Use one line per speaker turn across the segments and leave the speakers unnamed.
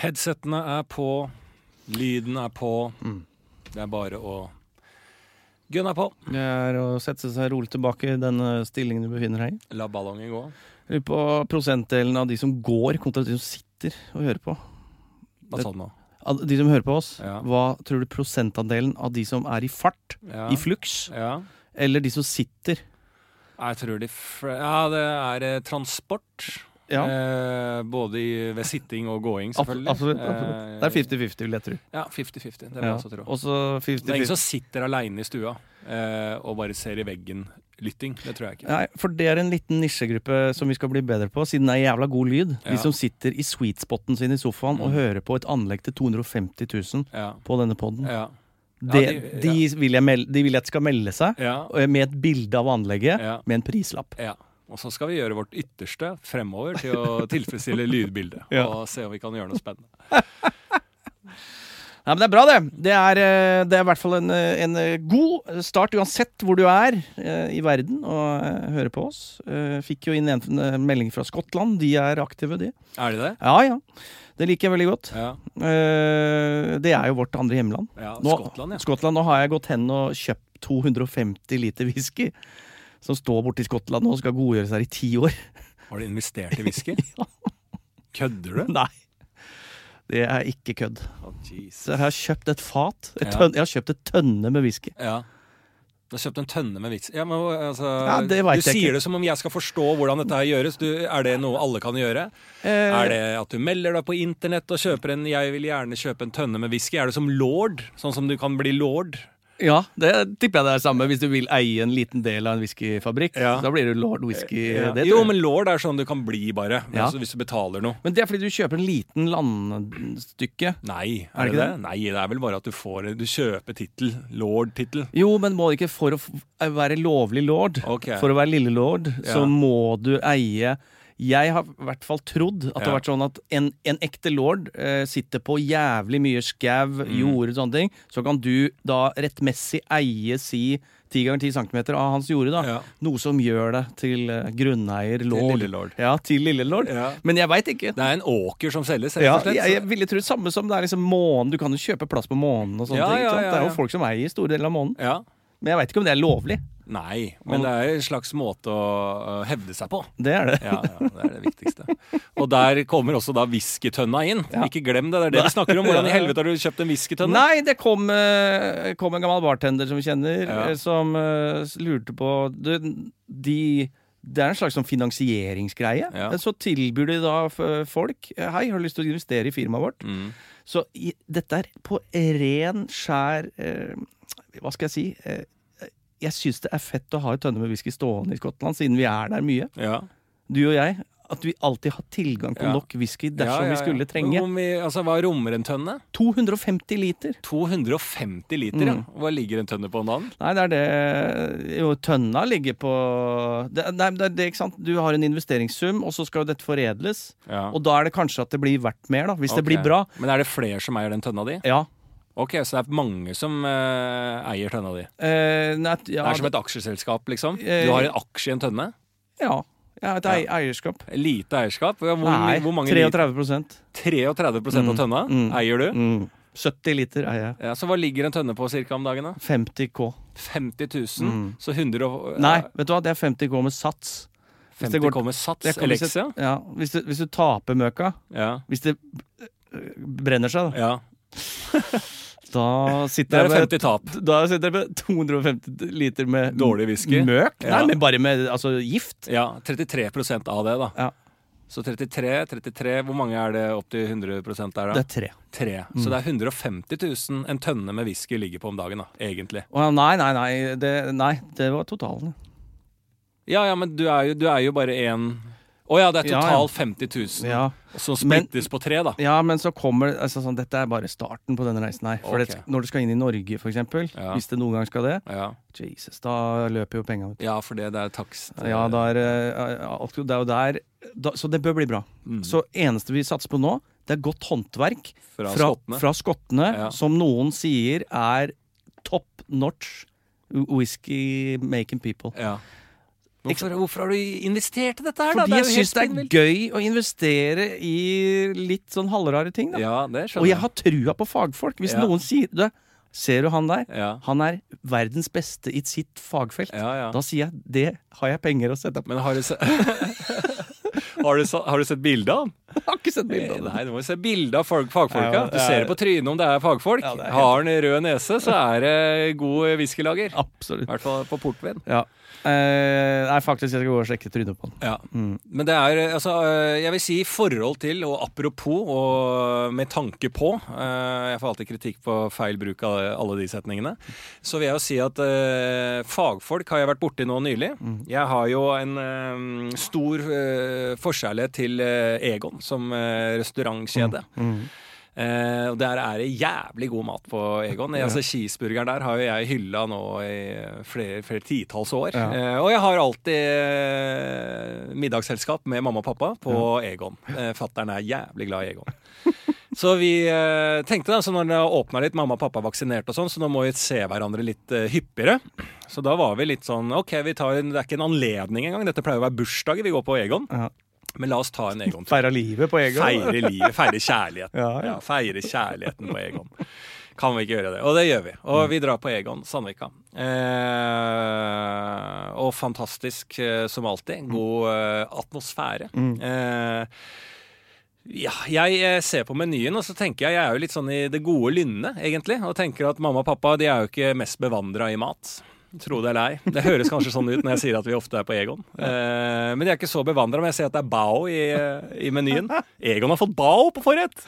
Headsettene er på, lyden er på. Det er bare å gunne på.
Det er å sette seg rolig tilbake i denne stillingen du befinner deg i.
La ballongen gå.
Lurer på prosentdelen av de som går, kontra de som sitter og hører på.
Hva sa du nå?
Av De som hører på oss,
Ja.
hva tror du prosentandelen av de som er i fart,
Ja.
i flux,
ja.
eller de som sitter?
Jeg tror de fl- Ja, det er eh, transport.
Ja,
Eh, både i, ved sitting og gåing,
ab-
selvfølgelig. Eh,
absolutt. absolutt. Det er 50-50, vil jeg tro.
Ja, 50-50. Det vil
Ja.
jeg også tro.
Også
Det er ingen
50-50.
som sitter aleine i stua eh, og bare ser i veggen-lytting. Det tror jeg ikke.
Nei, for det er en liten nisjegruppe som vi skal bli bedre på, siden det er jævla god lyd.
Ja.
De som sitter i sweetspoten sin i sofaen og
Mm.
hører på et anlegg til 250 000
Ja.
på denne poden.
Ja. de-
Det, de, vil jeg mel- de vil jeg skal melde seg
ja.
eh, med et bilde av anlegget
ja.
med en prislapp.
ja. Og så skal vi gjøre vårt ytterste fremover til å tilfredsstille lydbildet.
Ja.
Og se om vi kan gjøre noe spennende.
Nei, men Det er bra, det. Det er, eh, det er i hvert fall en, eh, en eh, god start uansett hvor du er eh, i verden og eh, hører på oss. Eh, Fikk jo inn en eh, melding fra Skottland. De er aktive, de.
Er det det?
Ja ja. Det liker jeg veldig godt.
Ja.
Eh, Det er jo vårt andre hjemland.
ja.
Nå-
Skottland, ja.
Skottland, nå har jeg gått hen og kjøpt 250 liter whisky. Som står borte i Skottland nå og skal godgjøres her i ti år.
Har du investert i whisky? Kødder du?
Nei. Det er ikke kødd.
Å, jeez.
Så jeg har kjøpt et fat. Et
Ja.
tønn, jeg har kjøpt et tønne med whisky.
Ja. Du har kjøpt en tønne med whisky. Ja, men, altså,
Ja, det vet
du
jeg ikke.
sier det som om jeg skal forstå hvordan dette her gjøres. Du, er det noe alle kan gjøre?
Eh.
Er det at du melder deg på internett og kjøper en 'jeg vil gjerne kjøpe en tønne med whisky'? Er du som lord? Sånn som du kan bli lord?
Ja, det tipper jeg det er samme hvis du vil eie en liten del av en whiskyfabrikk.
Ja.
Da blir du lord whisky. Det,
jo,
tror jeg.
men lord er sånn du kan bli, bare.
Ja.
Altså, hvis du betaler noe.
men det er fordi du kjøper en liten landstykke.
Nei, er,
det
det
ikke
det? Nei, det er vel bare at du får Du kjøper tittel. Lord-tittel.
Jo, men må ikke for å f- være lovlig lord,
Ok.
for å være lille lord, så
Ja.
må du eie jeg har i hvert fall trodd at det har
Ja.
vært sånn at en, en ekte lord eh, sitter på jævlig mye skau,
Mm.
jord og sånne ting. Så kan du da rettmessig eie si ti ganger ti centimeter av hans jorde, da.
Ja.
Noe som gjør deg til eh, grunneier, lord.
lille lord.
Ja, til lille lord.
Ja.
Men jeg veit ikke.
Det er en åker som selges, rett
Ja,
og slett.
jeg, jeg ville trodd samme som det er liksom månen. Du kan jo kjøpe plass på månen og sånne
Ja,
ting. ikke
ja,
sant?
ja,
Det er
ja.
jo folk som eier store deler av månen.
Ja.
Men jeg veit ikke om det er lovlig.
Nei, men
Og-
det er en slags måte å øh, hevde seg på.
Det er det.
Ja, ja, det er det viktigste. Og der kommer også da whiskytønna inn. Ikke glem det. Det er det vi snakker om. Hvordan i helvete har du kjøpt en whiskytønne?
Nei, det kom, eh, kom en gammel bartender som vi kjenner,
Ja.
eh, som eh, lurte på du, de, Det er en slags sånn finansieringsgreie.
Ja.
Eh, Så tilbyr de da f- folk eh, Hei, har du lyst til å investere i firmaet vårt?
Mm.
Så i, dette er på ren, skjær eh, Hva skal jeg si? Eh, jeg syns det er fett å ha en tønne med whisky stående i Skottland, siden vi er der mye.
Ja.
Du og jeg. At vi alltid har tilgang på
Ja.
nok whisky
Ja, ja,
dersom
ja.
vi skulle trenge.
Om vi, altså, Hva rommer en tønne?
250 liter!
250 liter,
Mm.
ja. Hva ligger en tønne på en annen?
Nei, det er det Jo, tønna ligger på det, Nei, men det er det, ikke sant? Du har en investeringssum, og så skal jo dette foredles.
Ja.
Og da er det kanskje at det blir verdt mer, da. Hvis
Ok.
det blir bra.
Men er det flere som eier den tønna di?
Ja.
Ok, så det er mange som eh, eier tønna di.
Eh, nei, t- ja,
Det er som et aksjeselskap, liksom.
Eh,
Du har en aksje i en tønne.
ja. ja, et ei- eierskap.
Lite eierskap. Hvor,
Nei,
hvor mange
33
liter- 33 av tønna
mm.
eier du.
mm. 70 liter eier jeg.
Ja, så hva ligger en tønne på cirka om dagen, da?
50 K.
50 000? Så 100 og
Mm. Nei, vet du hva, det er 50 K med sats. hvis det
50
går-
kommer sats?
Jeg kan- hvis
Elexia?
jeg- Ja, hvis, du, hvis du taper møka,
Ja.
hvis det øh, brenner seg,
ja.
da, da
Det
sitter
er
jeg med
50 tap.
Da sitter jeg med 250 liter med
Dårlig whisky.
møk.
Ja.
Nei, men bare med altså, gift.
Ja, 33 av det, da.
Ja.
Så 33, 33 Hvor mange er det opp til 100 der,
Det
da?
er tre.
Tre. Så det er 150 000 en tønne med whisky ligger på om dagen, da, egentlig.
Å, nei, nei, nei det, nei. det var totalen.
Ja ja, men du er jo, du er jo bare én Å ja, det er
Ja,
total
ja.
50 000
Ja.
som
Men-
splittes på tre, da.
ja, men så kommer det altså, sånn, Dette er bare starten på denne reisen her. For
Ok.
det, når du skal inn i Norge, for eksempel,
Ja.
hvis det noen gang skal det,
Ja,
Jesus, da løper jo penga ut.
ja for det, det er takst.
Ja, da er, eh, alt- det er jo der da, Så det bør bli bra.
mm,
Så eneste vi satser på nå, det er godt håndverk
Fra
fra
skottene.
fra skottene,
Ja.
som noen sier er top notch whisky making people.
Ja. Hvorfor, hvorfor har du investert i dette her, da?
Fordi jeg
jo helt
syns det er
spinnvilt.
gøy å investere i litt sånn halvrare ting, da.
Ja, det
Og
skjønner
jeg har trua på fagfolk. Hvis
Ja.
noen sier du, Ser du han der?
Ja.
Han er verdens beste i sitt fagfelt.
Ja, ja.
Da sier jeg det har jeg penger å sette på.
Men har du, se... har, du sa- har du sett bilde av ham?
Jeg har ikke sett bilde av det.
Nei, du må jo se bilde av folk, fagfolka.
Ja, det
du ser
er-
det på trynet om det er fagfolk.
Ja, det er helt-
Har han rød nese, så er det god whiskylager. I
Absolutt.
hvert fall på portvin.
Ja. Eh, nei, faktisk, jeg skal gå og sjekke trynet på han.
Ja. Men det er eh, altså eh, Jeg vil si i forhold til, og apropos, og med tanke på eh, Jeg får alltid kritikk på feil bruk av alle de setningene. Så vil jeg jo si at eh, fagfolk har jeg vært borti nå nylig. Jeg har jo en eh, stor eh, forkjærlighet til eh, Egon som eh, restaurantkjede. Eh, og der er det jævlig god mat på Egon. Altså, Cheeseburgeren der har jo jeg hylla nå i flere, flere titalls år.
Ja.
Eh, og jeg har alltid eh, middagsselskap med mamma og pappa på Egon. Eh, Fattern er jævlig glad i Egon. Så vi eh, tenkte da, så når det åpna litt, mamma og pappa er vaksinert og sånn, så nå må vi se hverandre litt eh, hyppigere. Så da var vi litt sånn OK, vi tar en, det er ikke en anledning engang. Dette pleier å være bursdager vi går på Egon.
Ja.
Men la oss ta en Egon-tur.
Feira livet på Egon.
Feire livet, feire kjærligheten.
Ja,
Ja,
ja.
feire kjærligheten på Egon. Kan vi ikke gjøre det? Og det gjør vi. Og vi drar på Egon Sandvika. Eh, og fantastisk eh, som alltid. God eh, atmosfære. Eh, ja, jeg eh, ser på menyen, og så tenker jeg jeg er jo litt sånn i det gode lynnet, egentlig. Og tenker at mamma og pappa de er jo ikke mest bevandra i mat. Tro det eller ei. Det høres kanskje sånn ut når jeg sier at vi ofte er på Egon. Eh, men de er ikke så bevandra. Men jeg ser at det er bao i, eh, i menyen. Egon har fått bao på forrett!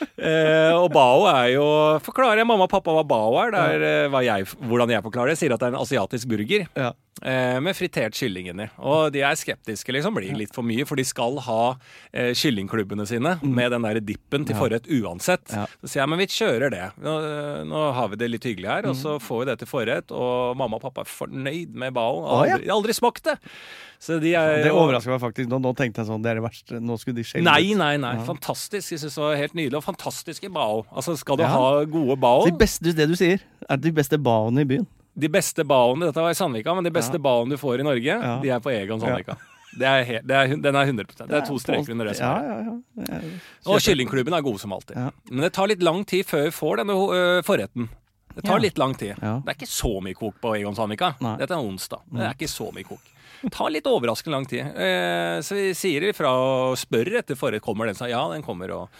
Eh, og bao er jo Forklarer jeg mamma og pappa hva bao er? Det er eh, hva jeg, hvordan jeg forklarer det. Jeg sier at det er en asiatisk burger
Ja.
eh, med fritert kylling inni. Og de er skeptiske, liksom. Blir litt for mye. For de skal ha eh, kyllingklubbene sine med den der dippen til forrett uansett.
Mm. Ja.
Så sier jeg men vi kjører det. Nå, eh, nå har vi det litt hyggelig her, og så
Mm.
får vi det til forrett. Og mamma og pappa er fornøyd med bao.
Å, ja.
Aldri, aldri smakt det! Så de er
Det overraska meg faktisk. Nå, nå tenkte jeg sånn, det er det verste. Nå skulle de skjelve.
Nei, nei, nei. Fantastisk. Jeg synes det var helt nydelig. Og fantastiske bao. Altså, skal du
Ja.
ha gode bao
De beste, det du sier, er de beste baene i byen.
De beste baoene Dette var i Sandvika, men de beste baoene du får i Norge,
Ja.
de er på Egon Sandvika. Det er he- det er, hun- den er 100 Det er to streker under det. som
Ja,
er.
ja, ja. Det er-
Og kyllingklubben er god som alltid.
Ja.
Men det tar litt lang tid før vi får denne ø, forretten. Det tar
Ja.
litt lang tid.
Ja.
Det er ikke så mye kok på Egon Sandvika.
Nei.
Dette er onsdag. Det er ikke så mye kok. Det tar litt overraskende lang tid. Eh, så vi sier ifra og spør etter forrett. Kommer den? Så ja, den kommer. Og,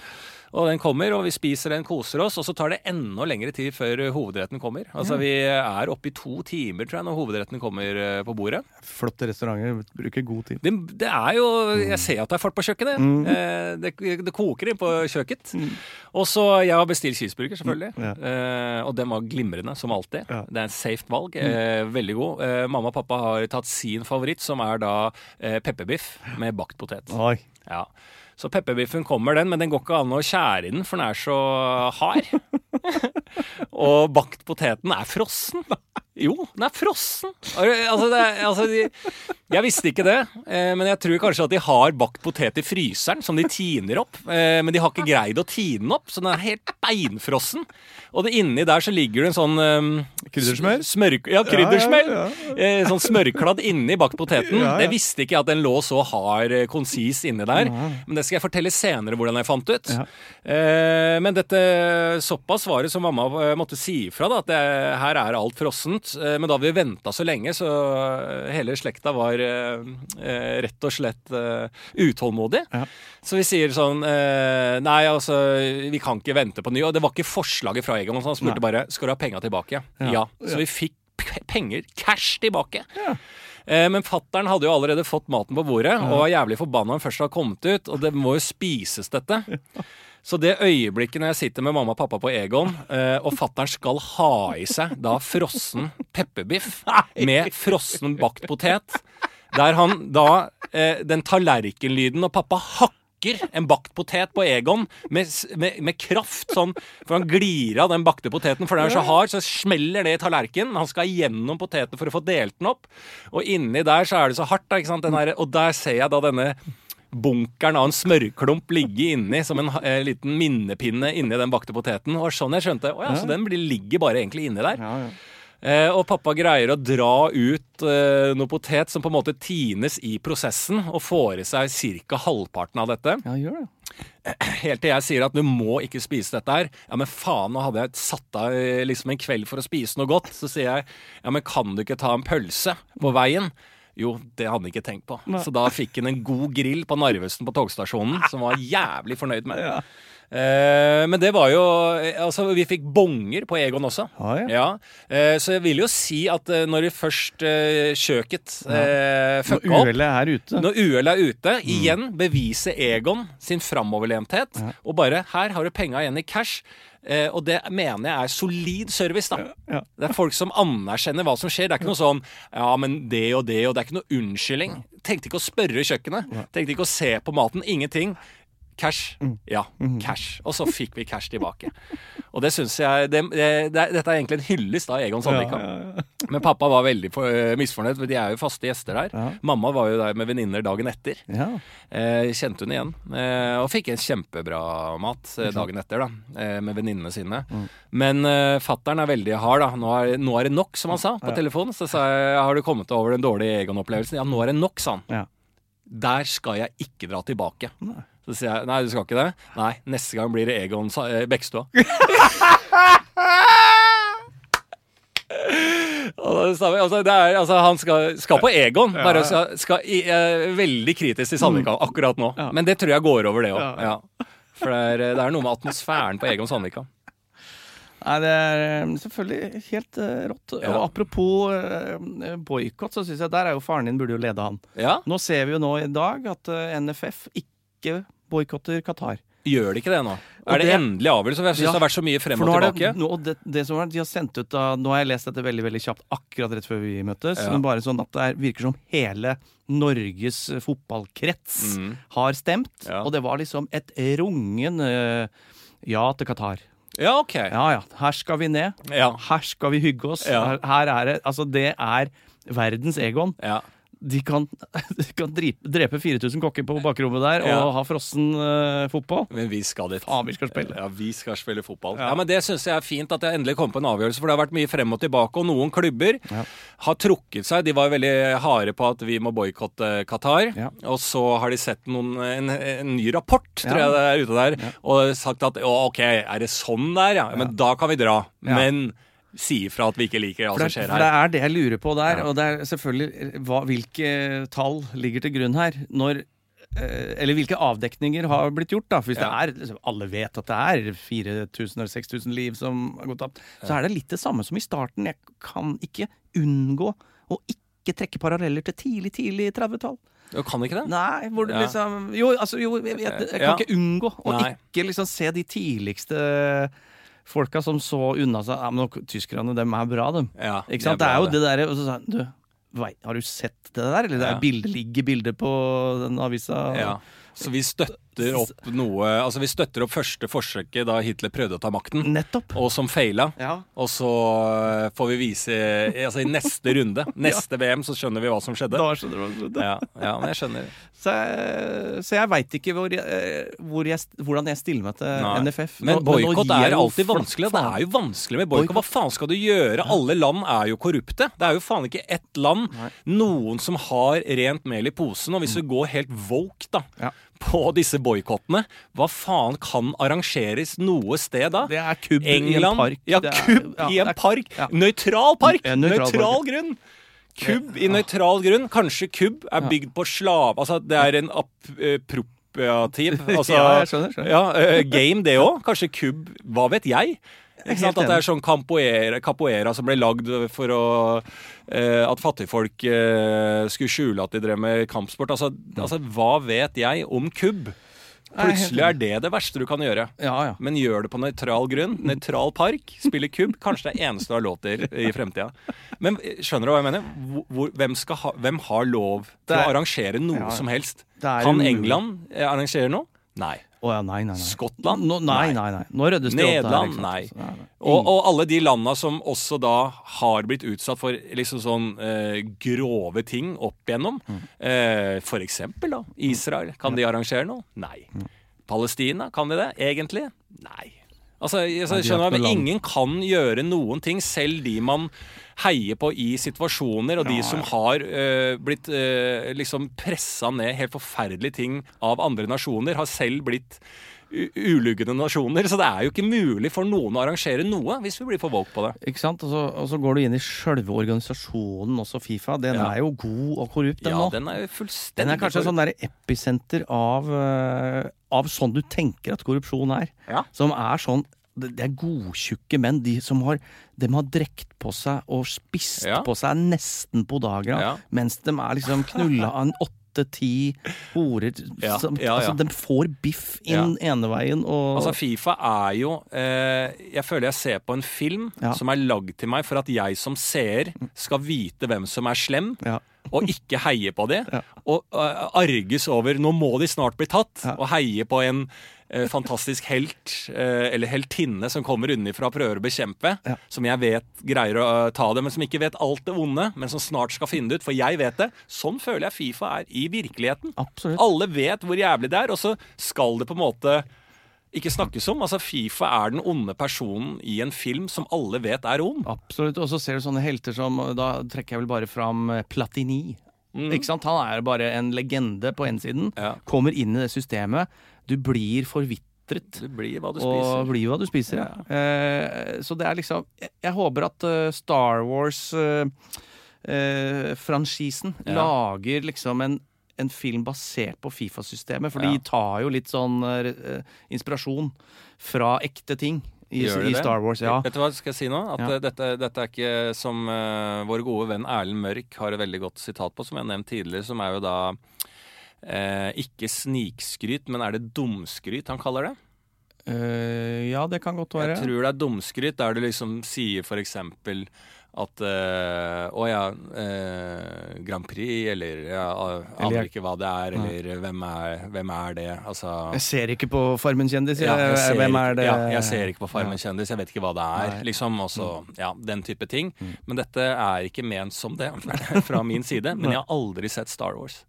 og den kommer, og vi spiser den, koser oss. Og så tar det enda lengre tid før hovedretten kommer. Altså vi er oppe i to timer, tror jeg, når hovedretten kommer eh, på bordet.
Flotte restauranter bruker god tid.
Det, det er jo Jeg
Mm.
ser at det er fart på kjøkkenet. Eh, det, det koker inn på kjøkkenet. Og så Jeg har bestilt cheeseburger, selvfølgelig.
Mm. Ja.
Eh, og den var glimrende, som alltid.
Ja. Mm.
Det er en safe valg. Eh, veldig god. Eh, mamma og pappa har tatt sin favoritt, som er da eh, pepperbiff med bakt potet.
Oi.
Ja. Så pepperbiffen kommer, den, men den går ikke an å skjære i den, for den er så hard. og bakt poteten er frossen. Jo, den er frossen! Altså, det er, altså de, Jeg visste ikke det, eh, men jeg tror kanskje at de har bakt potet i fryseren som de tiner opp. Eh, men de har ikke greid å tine den opp, så den er helt beinfrossen. Og det, inni der så ligger det en sånn eh,
Kryddersmør?
Smør, ja, kryddersmør.
Ja, ja,
Eh, sånn smørkladd inni bakt poteten.
Ja, ja.
Det visste ikke jeg at den lå så hard eh, konsis inni der. Men det skal jeg fortelle senere hvordan jeg fant ut.
Ja.
Eh, men dette såpass var det som mamma eh, måtte si ifra, da, at det, her er alt frossent. Eh, men da hadde vi venta så lenge, så eh, hele slekta var eh, eh, rett og slett eh, utålmodig.
Ja.
Så vi sier sånn eh, Nei, altså, vi kan ikke vente på ny. Og det var ikke forslaget fra Egon. så Han spurte bare skal du ha penga tilbake.
Ja.
Ja. Så vi fikk p- penger, cash, tilbake. Eh, Men fattern hadde jo allerede fått maten på bordet og var jævlig forbanna når den først har kommet ut. Og det må jo spises, dette. Så det øyeblikket når jeg sitter med mamma og pappa på Egon, eh, og fattern skal ha i seg da frossen pepperbiff med frossen bakt potet, der han da eh, Den tallerkenlyden når pappa hakker en bakt potet på Egon med, s- med, med kraft, sånn, for han glir av den bakte poteten, for den er så hard, så smeller det i tallerkenen. Han skal gjennom poteten for å få delt den opp, og inni der så er det så hardt, da, ikke sant, den her, og der ser jeg da denne bunkeren av en smørklump ligge inni som en eh, liten minnepinne inni den bakte poteten. Og sånn jeg skjønte. Å ja, så den blir, ligger bare egentlig inni der.
Ja, ja.
Eh, og pappa greier å dra ut eh, noe potet som på en måte tines i prosessen, og får i seg ca. halvparten av dette.
Ja, gjør det.
Helt til jeg sier at du må ikke spise dette her. Ja, men faen, nå hadde jeg satt av eh, liksom en kveld for å spise noe godt. Så sier jeg ja, men kan du ikke ta en pølse på veien? Jo, det hadde han ikke tenkt på.
Nei.
Så da fikk han en god grill på Narvesen på togstasjonen, som var jævlig fornøyd med.
Ja.
Eh, men det var jo eh, Altså, vi fikk bonger på Egon også.
Ah, ja.
Eh, så jeg vil jo si at eh, når vi først eh, kjøket eh,
Når
fucka opp
uhellet er ute. Mm.
når uhellet er ute, igjen beviser Egon sin framoverlenthet. Og bare 'her har du penga igjen i cash'. Eh, og det mener jeg er solid service, da.
Ja.
Det er folk som anerkjenner hva som skjer. Det er ikke noe sånn 'ja, men det og det', og det er ikke noe unnskyldning. Tenkte ikke å spørre kjøkkenet. Tenkte ikke å se på maten. Ingenting. Cash.
Mm.
Ja, cash. Og så fikk vi cash tilbake. Og det syns jeg det, det, det, Dette er egentlig en hyllest av Egon Sandvika. Men pappa var veldig for, eh, misfornøyd, for de er jo faste gjester der.
Ja.
Mamma var jo der med venninner dagen etter.
Ja.
Eh, kjente hun igjen, eh, og fikk en kjempebra mat eh, dagen etter, da, eh, med venninnene sine. Men eh, fattern er veldig hard, da. Nå er, 'Nå er det nok', som han sa på telefonen. Så sa jeg 'Har du kommet deg over den dårlige Egon-opplevelsen?' 'Ja, nå er det nok', sa han.
Ja.
Der skal jeg ikke dra tilbake.
Nei.
Så sier jeg 'Nei, du skal ikke det'? Nei, neste gang blir det Egon sa- eh, Bekkestua. Og da sa vi, altså, det er, altså, han skal, skal på Egon. Bare skal, skal, i- eh, veldig kritisk til Sandvika akkurat nå.
Mm. Ja.
Men det tror jeg går over, det òg.
Ja.
Ja. For det er, det er noe med atmosfæren på Egon Sandvika.
Nei, det er eh, selvfølgelig helt eh, rått.
Ja.
Og apropos uh, boikott, så syns jeg der er jo faren din burde jo lede han.
Ja,
Nå ser vi jo nå i dag at eh, NFF ikke boikotter Qatar.
Gjør det ikke det nå?
Og
Er det
det-
endelig avgjørelse? For jeg syns
Ja.
det har vært så mye frem
For
og
nå er
tilbake.
det, nå, og det, det som er, de har sendt ut da, Nå har jeg lest dette veldig veldig kjapt akkurat rett før vi møttes.
Ja.
Men bare sånn at det er, virker som hele Norges eh, fotballkrets
Mm.
har stemt.
Ja.
Og det var liksom et rungen eh, ja til Qatar.
Ja, ok.
Ja ja, her skal vi ned.
Ja.
Her skal vi hygge oss.
Ja.
Her, her er det Altså, det er verdens Egon.
ja.
De kan, de kan drepe, drepe 4000 kokker på bakrommet der
Ja.
og ha frossen eh, fotball.
Men vi skal dit.
Faen, vi skal spille.
Ja, vi skal spille fotball.
Ja.
Ja, men Det syns jeg er fint at jeg endelig kom på en avgjørelse, for det har vært mye frem og tilbake. Og noen klubber har trukket seg. De var veldig harde på at vi må boikotte Qatar.
Ja.
Og så har de sett noen, en, en ny rapport, tror
Ja.
jeg det er ute der, og sagt at å, OK, er det sånn der, ja? Men da kan vi dra.
Ja.
Men si ifra at vi ikke liker hva
For
som
det,
skjer
for det
her.
er det jeg lurer på der.
Ja.
Og det er selvfølgelig eh, hva, hvilke tall ligger til grunn her. Når eh, eller hvilke avdekninger har blitt gjort? da For Hvis
Ja.
det er, liksom, alle vet at det er 4000 eller 6000 liv som har gått tapt, så er det litt det samme som i starten. Jeg kan ikke unngå å ikke trekke paralleller til tidlig, tidlig 30-tall.
Du kan ikke det?
Nei, hvor du
Ja. Eh,
liksom Jo, altså, jo jeg, vet, jeg kan
Ja.
ikke unngå å
Nei.
ikke liksom se de tidligste folka som så unna seg Ja, men nå- tyskerne, dem er bra, dem.
Ja,
Ikke sant? Det
bra,
er, jo det derre Og så sa han Du, vei, har du sett det der? Eller det
Ja.
er bilde, ligger bilder på den avisa?
Ja. Så vi støtter opp noe Altså, vi støtter opp første forsøket da Hitler prøvde å ta makten,
Nettopp.
og som feila.
Ja.
Og så eh, får vi vise Altså i neste runde, neste VM, så skjønner vi hva som skjedde.
Da skjønner du det.
Ja, ja men jeg skjønner.
Så, jeg- så jeg veit ikke hvor jeg, eh, hvor jeg, hvordan jeg stiller meg til
Nei.
NFF.
Men
Nå- nå
boikott
gir jeg
er
jo
alltid
flatt
vanskelig. og Det
faen.
er jo vanskelig med boikott. Hva faen skal du gjøre? Alle land er jo korrupte. Det er jo faen ikke ett land, noen som har rent mel i posen. Og hvis du går helt woke, da.
Mm. Ja.
På disse boikottene. Hva faen kan arrangeres noe sted da?
Det er kubb i en
England
park.
Ja,
Det er-
kubb
ja,
i en
det er-
park.
ja.
Nøytral park!
En nøytral
Nøytral,
park.
grunn! Kubb i nøytral grunn. Kanskje kubb er bygd på slav... Altså, det er en eh, appropriativ altså,
Ja, jeg skjønner, skjønner.
Ja, eh, game, det òg. Kanskje kubb Hva vet jeg? Ikke sant?
helt
At det er sånn capoeira, capoeira som ble lagd for å eh, At fattigfolk eh, skulle skjule at de drev med kampsport. Altså, altså, hva vet jeg om kubb?
Mm. Nei, helt
Plutselig er det det verste du kan gjøre.
Ja, ja.
Men gjør det på nøytral grunn. Nøytral park. Spille kubb. Kanskje det er eneste du har lov til i fremtida. Men eh, skjønner du hva jeg mener? Hvor- Hvor, hvem, skal ha, hvem har lov til
Det
å
er-
arrangere noe
Ja.
som helst?
Det er
Kan
umulig.
England eh, arrangere noe? Nei.
Å ja, nei, nei, nei.
Skottland?
Nå, nei, nei, nei. Nå ryddes det opp der.
Nederland?
ikke
Nei.
sant? Nei, nei.
Og, og alle de landa som også da har blitt utsatt for liksom sånn eh, grove ting opp igjennom.
Mm.
Eh, for eksempel da,
Mm.
Israel. Kan de arrangere noe? Nei. Palestina, kan de det egentlig? Nei. Altså, jeg, jeg
Nei, de har
skjønner
ikke
at
noe land.
Ingen kan gjøre noen ting, selv de man heier på i situasjoner, og de som har eh, blitt eh, liksom pressa ned helt forferdelige ting av andre nasjoner, har selv blitt u- uluggende nasjoner. Så det er jo ikke mulig for noen å arrangere noe hvis vi blir for woke på det.
Ikke sant? Og så, og så går du inn i sjølve organisasjonen, også Fifa. Den
Ja.
er jo god og korrupt,
ja,
den nå. Den,
den er jo fullstendig
er kanskje et sånn der episenter av, eh, av sånn du tenker at korrupsjon er.
Ja.
Som er sånn Det det er godtjukke menn. De som har, dem har drekt på seg og spist
Ja.
på seg nesten på dagen,
Ja.
mens de er liksom knulla av en åtte-ti horer.
Ja,
Som,
ja, ja.
Altså, de får biff inn ene veien og
Altså Fifa er jo eh, Jeg føler jeg ser på en film
Ja.
som er lagd til meg for at jeg som seer skal vite hvem som er slem,
Ja.
og ikke heie på det.
Ja.
Og eh, arges over 'nå må de snart bli tatt',
Ja.
og heie på en eh, fantastisk helt eh, eller heltinne som kommer unnifra og prøver å bekjempe,
Ja.
som jeg vet greier å eh, ta det, men som ikke vet alt det onde, men som snart skal finne det ut, for jeg vet det. Sånn føler jeg Fifa er i virkeligheten.
Absolutt.
Alle vet hvor jævlig det er, og så skal det på en måte ikke snakkes om. Altså, Fifa er den onde personen i en film som alle vet er ond.
Absolutt. Og så ser du sånne helter som Da trekker jeg vel bare fram eh, Platini. Ikke sant? Han er bare en legende på ene siden.
Mhm. Ja.
Kommer inn i det systemet. Du blir forvitret.
Du blir hva du
Og
spiser.
blir hva du spiser. Ja. Eh, så det er liksom Jeg, jeg håper at eh, Star eh, Wars-franchisen
Ja.
lager liksom en en film basert på Fifa-systemet, for
Ja.
de tar jo litt sånn eh, inspirasjon fra ekte ting i,
Gjør de
i
det?
Star Wars. Ja.
Vet du hva jeg skal si nå? At
Ja.
eh, dette, dette er ikke som eh, vår gode venn Erlend Mørk har et veldig godt sitat på, som jeg har nevnt tidligere, som er jo da eh, ikke snikskryt, men er det dumskryt han kaller det?
Eh, ja, det kan godt være.
Jeg tror det er dumskryt der du liksom sier for eksempel at eh, Å ja, eh, Grand Prix, eller ja, a-
Eller
Aner
jeg-
ikke hva det er, eller hvem er, hvem er det? Altså
Jeg ser ikke på Farmen kjendis.
ja, jeg ser
Hvem
ikke-
er det?
Ja, jeg ser ikke på Farmen kjendis, jeg vet ikke hva det er.
Nei. Mm.
Liksom, og så, ja, Den type ting. Men dette er ikke ment som det fra min side. Men jeg har aldri sett Star Wars.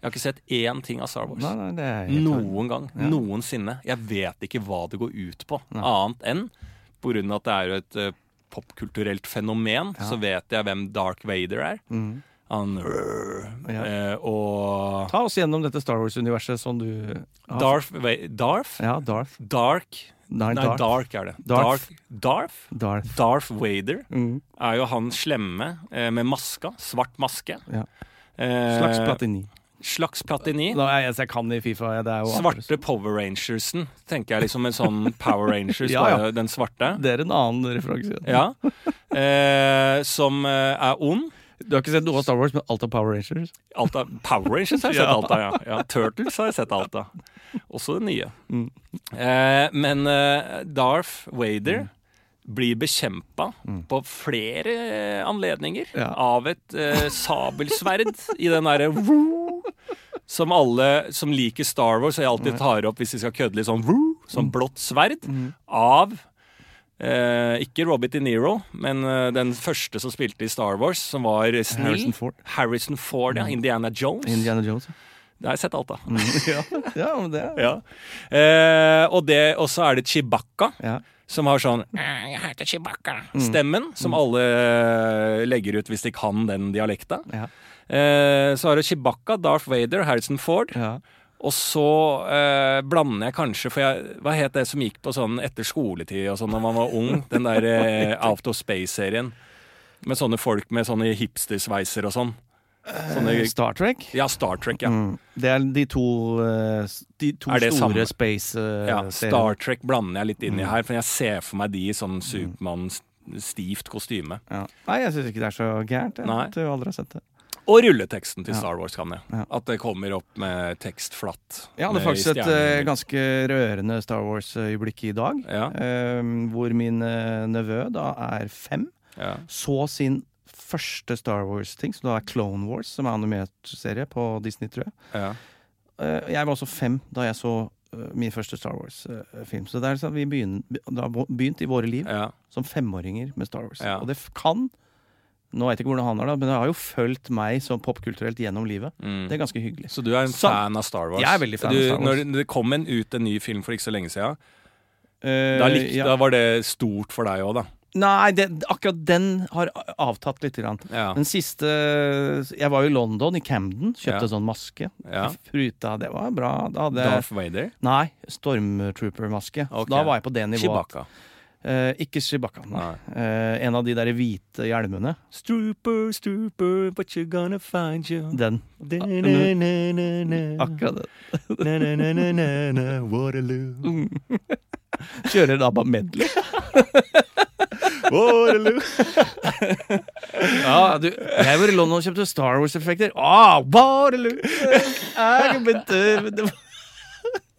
Jeg har ikke sett én ting av Star Wars.
Nei, nei, det er helt klart.
Noen gang. Noensinne. Jeg vet ikke hva det går ut på, annet enn på grunn av at det er jo et eh, popkulturelt fenomen, så vet jeg hvem Dark Vader er.
Mm.
Han
Ja.
eh, Og
Ta oss gjennom dette Star Wars-universet som du har-
Darth Va- Darth?
Ja, Darth.
Dark
Nei,
Nei,
Darth.
Dark er det.
Darth.
Darth, Darth?
Darth.
Darth Vader
Mm.
er jo han slemme eh, med maska. Svart maske.
Ja.
Eh,
Slags Platini.
Slags Platini.
Nå er jeg eneste jeg kan i Fifa. ja, Det er jo
Svarte Power Rangersen, tenker jeg liksom en sånn Power Rangers,
Ja, ja.
bare den svarte.
Det er en annen referanse.
Ja. Eh, som eh, er ond.
Du har ikke sett noe av Star Wars, men alt av Power Rangers?
Alt av, Power Rangers har jeg sett alt av, ja. ja. Turtles har jeg sett alt av. Også det nye.
Mm.
Eh, men eh, Darth Vader
Mm.
blir bekjempa på flere eh, anledninger
Ja.
av et eh, sabelsverd i den derre woo, som alle som liker Star Wars, og jeg alltid tar opp hvis de skal kødde litt sånn woo,
Mm.
sånn blått sverd, av eh, ikke Robert De Niro, men eh, den første som spilte i Star Wars, som var snill.
Harrison Ford.
Harrison Ford, ja. Indiana Jones.
Mm. Indiana Mm. Jones.
Det har jeg sett alt av.
ja. ja, men det er
Ja. Eh, og det- og så er det Chewbacca,
ja. Mm.
som har sånn «Eh, Jeg heter Chewbacca-stemmen, som alle legger ut hvis de kan den dialekta.
Ja.
Eh, så har du Chewbacca, Darth Vader, Harrison Ford.
Ja.
Og så eh, blander jeg kanskje, for jeg, hva het det som gikk på sånn etter skoletid og sånn da man var ung? Den der eh, Out of Space-serien. Med sånne folk med sånne hipstersveiser og sånn. Sånne
Star Trek?
ja, Star Trek, ja.
Eh, Mm. Det er de to, eh, s- de to
Er det
store eh,
samme? ja.
space-seriene.
Star Trek blander jeg litt inn i
Mm.
her, for jeg ser for meg de i sånn Supermann-stivt kostyme.
Ja. Nei, jeg syns ikke det er så gærent. Jeg,
Nei.
at du aldri har sett det.
Og rulleteksten til
Ja.
Star Wars kan jeg.
Ja.
At det kommer opp med tekst flatt.
Jeg hadde
med
faktisk et eh,
stjerner.
ganske rørende Star Wars-øyeblikk i dag.
Ja,
eh, hvor min eh, nevø da er fem,
ja.
så sin første Star Wars-ting, som da er Clone Wars, som er animert serie på Disney, tror jeg.
ja.
Eh, jeg var også fem da jeg så eh, min første Star Wars-film. Så det er sånn, vi begyn- det har begynt i våre liv
ja.
som femåringer med Star Wars.
Ja.
Og det f- kan Nå vet jeg ikke hvordan han er, da, men det har jo fulgt meg som popkulturelt gjennom livet.
Mm.
Det er ganske hyggelig.
Så du er en
Sam-
fan av Star Wars?
Jeg er veldig fan av
du,
Star Wars.
Når det kom en, ut en ny film for ikke så lenge siden
Eh,
Da, likte,
ja.
da var det stort for deg òg, da.
Nei, det, akkurat den har avtatt litt. Grann.
Ja.
Den siste Jeg var jo i London, i Camden. Kjøpte
Ja.
sånn maske.
Ja.
Fruta, det var bra. Da hadde jeg
Darth Vader.
Nei, Stormtrooper-maske. Så
Ok.
Da var jeg på det nivået.
Chewbacca.
Eh, ikke Shibaka. Nei.
Nei.
Eh, en av de der hvite hjelmene.
Strooper, strooper, but you're gonna find you.
Den.
Da-na-na-na-na.
Akkurat den.
Na-na-na-na-na-na, Waterloo.
Mm. Kjører da bare medley.
Waterloo.
Ja, du, jeg var i London og kjøpte Star Wars-effekter. Ah, Waterloo! Jeg begynte det var-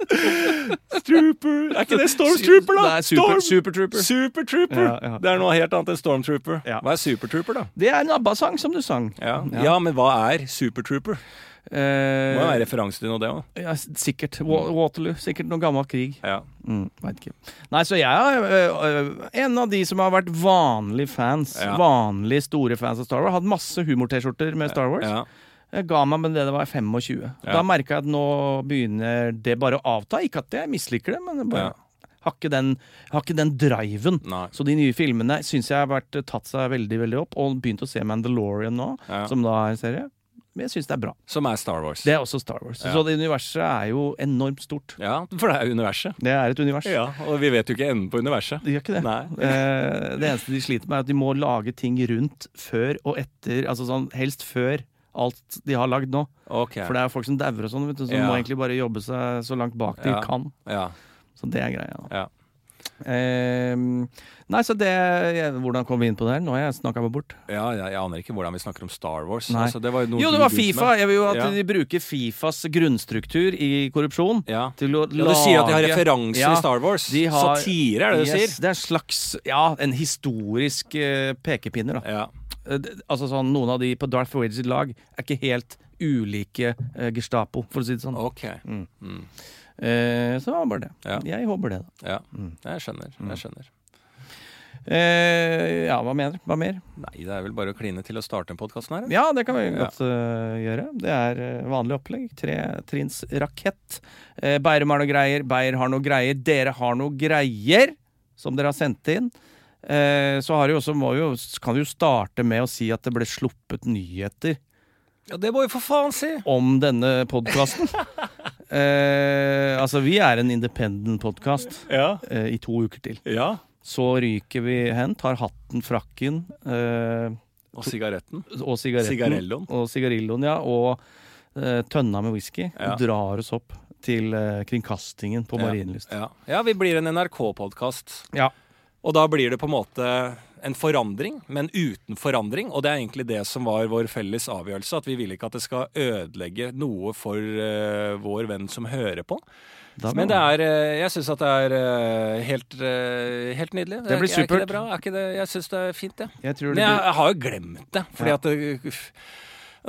Strooper. Er ikke det Stormtrooper, da?
Nei, super,
Storm-
supertrooper.
Supertrooper!
Ja, ja.
Det er noe helt annet enn Stormtrooper.
Ja.
Hva er Supertrooper, da?
Det er en ABBA-sang som du sang.
Ja.
Ja.
Ja. men hva er Supertrooper? Det må jo være
Eh,
referanse til noe, det òg.
ja, s- sikkert. Wa- Waterloo. Sikkert noe gammel krig.
Ja.
Mm, vet ikke. Nei, så jeg er ø, ø, en av de som har vært vanlige fans.
Ja.
Vanlige store fans av Star Wars. Hatt masse humor-T-skjorter med Star Wars.
Ja.
Jeg ga meg med det det var i 25.
Ja.
Da merka jeg at nå begynner det bare å avta. Ikke at jeg misliker det, men det bare
Ja.
har, ikke den, har ikke den driven.
Nei.
Så de nye filmene syns jeg har vært, øh, tatt seg veldig veldig opp, og begynt å se Mandalorian nå,
Ja.
som da er en serie. Men jeg syns det er bra.
Som er Star Wars.
Det er også Star Wars.
Ja.
Så det universet er jo enormt stort.
Ja, for det er universet.
Det er et univers.
Ja, Og vi vet jo ikke enden på universet.
De gjør ikke det.
Nei.
Eh, det eneste de sliter med, er at de må lage ting rundt før og etter. Altså sånn, helst før alt de har lagd nå.
Ok.
For det er jo folk som dauer og sånn, vet du, som
Ja.
må egentlig bare jobbe seg så langt bak de
Ja.
kan.
Ja.
Så det er greia. da.
Ja.
Ehm, nei, så det Hvordan kom vi inn på det her? Nå har jeg snakka meg bort.
Ja, ja, jeg aner ikke hvordan vi snakker om Star Wars.
Nei.
Altså, det var jo, noe
Jo,
du
det var
begynte
Fifa!
med.
Jeg vil jo at
Ja.
de bruker Fifas grunnstruktur i korrupsjon
Ja.
til å
ja,
lage
Du sier at de har referanser
Ja,
i Star Wars.
de har-
Satire, er det du
Yes,
sier?
det er en slags Ja, en historisk eh, pekepinner, da.
Ja.
Eh, det- Altså sånn, Noen av de på Darth Vader sitt lag er ikke helt ulike eh, Gestapo, for å si det sånn.
Ok. Mm.
Eh, så det var bare det.
Ja.
Jeg håper det, da.
Ja. Jeg skjønner.
Mm.
Jeg skjønner.
Eh, ja, hva mener Hva mer?
Nei, det er vel bare å kline til å starte den podkasten her.
Ja, det kan vi
Ja.
godt eh, gjøre. Det er eh, vanlig opplegg. Tre trins rakett. Eh, Beirum har noe greier, Beyer har noe greier, dere har noe greier som dere har sendt inn. Eh, så har vi også, må jo, kan vi jo starte med å si at det ble sluppet nyheter
Ja, det må jo for faen si!
om denne podkasten. eh, altså, vi er en independent podkast
Ja.
eh, i to uker til.
ja.
Så ryker vi hen, tar hatten, frakken eh,
Og sigaretten.
og sigaretten.
Sigarelloen.
Og sigarilloen, ja. Og eh, tønna med whisky.
Ja.
Drar oss opp til eh, kringkastingen på Marienlyst.
Ja. ja, vi blir en NRK-podkast.
Ja.
Og da blir det på en måte en forandring, men uten forandring. Og det er egentlig det som var vår felles avgjørelse, at vi vil ikke at det skal ødelegge noe for eh, vår venn som hører på.
Da-
Men det er, eh, jeg syns at det er eh, helt, eh, helt nydelig.
Det
Er- Er
blir supert.
ikke det bra? Er ikke det, jeg syns det er fint, det.
Jeg tror
Men
det
jeg,
blir
jeg har jo glemt det. Fordi
Ja.
at det- uff.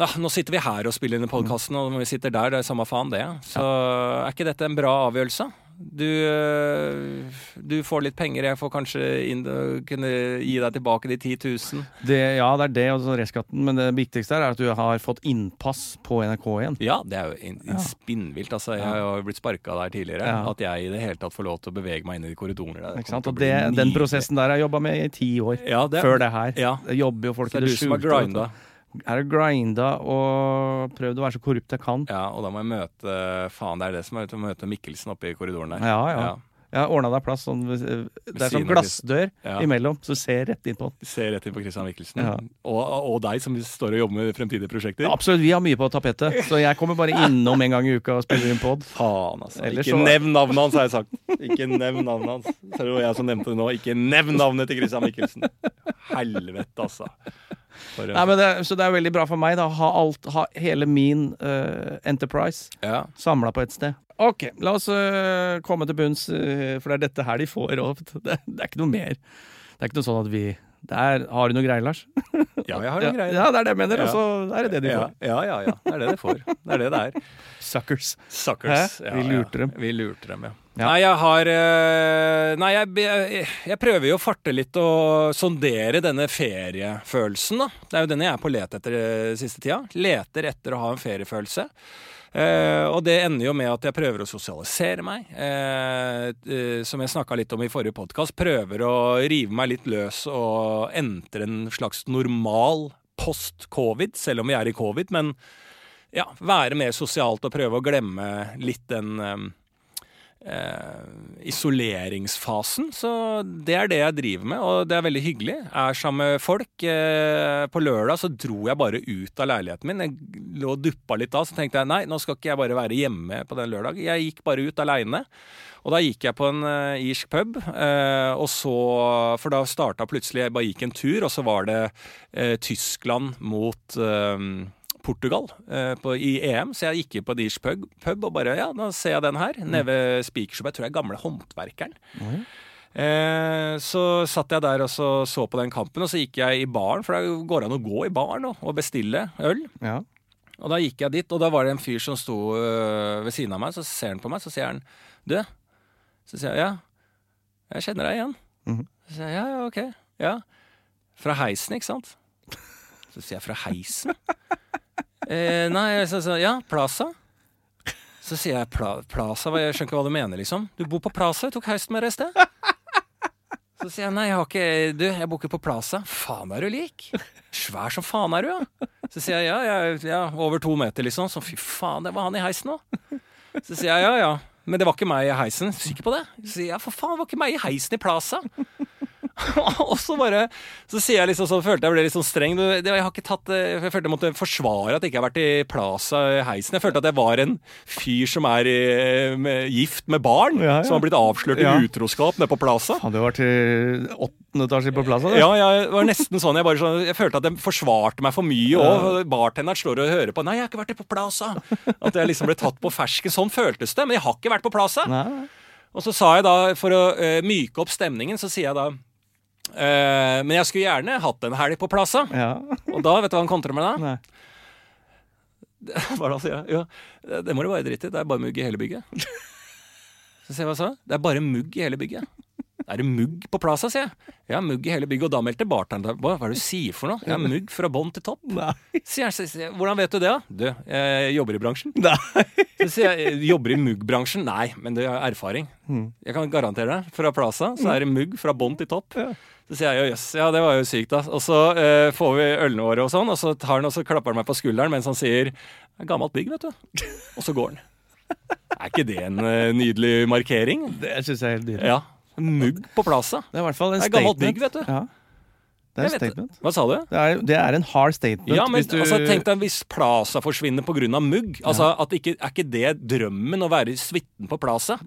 Ah, Nå sitter vi her og spiller inn i podkasten, og når vi sitter der, det er samme faen det. Så er ikke dette en bra avgjørelse? Du, øh, du får litt penger, jeg får kanskje inn, øh, kunne gi deg tilbake de 10 000.
det, Ja, det er det og så restskatten, men det viktigste her er at du har fått innpass på NRK igjen.
Ja, det er jo in, in spinnvilt. Altså, jeg har jo blitt sparka der tidligere.
Ja.
At jeg i det hele tatt får lov til å bevege meg inn i de korridorene der.
Ikke sant?
kommer
Og
til
det,
å bli
den
nydelig.
prosessen der har jeg jobba med i ti år.
ja, det,
Før det her.
Ja.
Det jobber jo folk
Så det er
i
du som har
skjulte, vet du.
grinda.
Jeg har grinda og prøvd å være så korrupt jeg kan.
Ja, og da må jeg møte Faen, det er det som er å møte Mikkelsen oppe i korridoren der.
Ja, ja. Jeg har ordna deg plass sånn ved- Det er
siden
sånn
av
glassdør
Ja.
imellom, så du ser rett inn på den.
Se rett inn på Christian Mikkelsen.
Ja.
Og, og deg, som står og jobber med fremtidige prosjekter.
Ja, absolutt, vi har mye på tapetet, så jeg kommer bare innom en gang i uka og spiller inn pod.
Faen, altså.
Ellers
ikke
så-
nevn navnet hans, har jeg sagt. Ikke nevn navnet hans. Så det var jeg som nevnte det nå. Ikke nevn navnet til Christian Mikkelsen. Helvete, altså. For en-
Nei, men det, så det er veldig bra for meg da å ha, alt, ha hele min eh, enterprise
ja.
samla på ett sted. Ok, la oss eh, komme til bunns, eh, for det er dette her de får råd. Det, det er ikke noe mer. Det er ikke noe sånn at vi der, Har du noe greier, Lars?
ja, jeg har
Ja,
noen greier.
ja, det er det jeg mener,
Ja.
og så er det det de
ja,
får.
ja, ja, ja. Det er det de får. Det er det det er.
Suckers.
Suckers.
Hæ? Vi lurte dem.
Vi lurte dem, ja.
Ja.
Nei, jeg har eh, Nei, jeg, jeg, jeg prøver jo å farte litt og sondere denne feriefølelsen, da. Det er jo den jeg er på let etter eh, siste tida. Leter etter å ha en feriefølelse. Eh, og det ender jo med at jeg prøver å sosialisere meg, eh, eh, som jeg snakka litt om i forrige podkast. Prøver å rive meg litt løs og entre en slags normal post-covid, selv om vi er i covid. Men ja, være mer sosialt og prøve å glemme litt den eh, eh, isoleringsfasen. Så det er det jeg driver med, og det er veldig hyggelig. Er sammen med folk. Eh, på lørdag så dro jeg bare ut av leiligheten min. Jeg lå og duppa litt da, så tenkte jeg nei, nå skal ikke jeg bare være hjemme på den lørdag. Jeg gikk bare ut aleine. Og da gikk jeg på en eh, irsk pub, eh, og så, for da starta plutselig Jeg bare gikk en tur, og så var det eh, Tyskland mot eh, Portugal eh, på, i EM, så jeg gikk inn på en irsk pub, pub og bare Ja, nå ser jeg den her. Nede ved Spikershow. Jeg tror jeg er gamle håndverkeren. Eh, så satt jeg der og så, så på den kampen, og så gikk jeg i baren, for det går an å gå i baren nå og bestille øl.
Ja.
Og da gikk jeg dit, og da var det en fyr som sto øh, ved siden av meg. Så ser han på meg, så sier han Du? Så sier jeg ja. Jeg kjenner deg igjen.
Mhm.
Så sier jeg ja, ja, ok. Ja. Fra heisen, ikke sant? Så sier jeg fra heisen? eh, nei, så sier jeg ja, Plaza. Så sier jeg pla, Plaza, hva- jeg skjønner ikke hva du mener, liksom. Du bor på Plaza, jeg tok heisen med deg i sted. Så sier jeg nei, jeg har ikke Du, jeg bor ikke på Plaza. Faen er du lik? Svær som faen er du, ja. Så sier jeg ja, jeg er- ja, over to meter, liksom. Så fy faen, det var han i heisen òg. Så sier jeg ja, ja. Men det var ikke meg i heisen. Sikker på det? Så sier jeg ja, for faen, det var ikke meg i heisen i Plaza. og så bare Så sier jeg liksom sånn, følte jeg ble litt sånn streng. Du, det, jeg har ikke tatt eh, Jeg følte jeg måtte forsvare at jeg ikke har vært i Plaza i heisen. Jeg følte at jeg var en fyr som er i, eh, med, gift med barn,
Ja, ja.
som har blitt avslørt i
Ja.
utroskap nede på Plaza.
Faen, du var til åttende etasje på plassen?
Ja, jeg var nesten sånn. Jeg, bare, sånn- jeg følte at de forsvarte meg for mye. Og bartenderen står og hører på. 'Nei, jeg har ikke vært på Plaza'. At jeg liksom ble tatt på fersken. Sånn føltes det. Men jeg har ikke vært på Plaza.
Nei.
Og så sa jeg da, for å eh, myke opp stemningen, så sier jeg da eh, Men jeg skulle gjerne hatt en helg på Plaza.
Ja.
Og da, vet du hva han kontrer med da?
Nei.
Hva er det han sier? Ja, det- det må du bare drite i. Det er bare mugg i hele bygget. Så sier jeg hva sa? Det er bare mugg i hele bygget. Er det mugg på Plaza, sier jeg. Ja, mugg i hele bygget. Og da meldte bartenderen seg på. Hva er det du sier for noe? Ja, mugg fra bånn til topp.
Nei.
Sier jeg, så sier jeg, Hvordan vet du det, da? Du, jeg jobber i bransjen.
Nei.
Så sier jeg, «Jeg jobber i muggbransjen? Nei, men det er erfaring.
Mm.
Jeg kan garantere deg. Fra Plaza så er det mugg fra bånn til topp.
Ja.
Så sier jeg jo jøss, ja det var jo sykt da. Og så eh, får vi ølene våre og sånn, og så tar han og så klapper han meg på skulderen mens han sier det er gammelt bygg, vet du. Og så går han. Er ikke det en eh, nydelig markering?
Det syns jeg er helt nydelig.
Ja. Mugg på Plaza.
Det er i hvert fall en
Det er gammelt
statement.
bygg, vet du.
Ja. Det er
Jeg
en
vet det.
statement.
Hva sa du?
Det er, det er en hard statement.
Ja, men
hvis du,
altså, tenk deg hvis Plaza forsvinner pga. mugg. Altså, at ikke, er ikke det drømmen å være suiten på Plaza?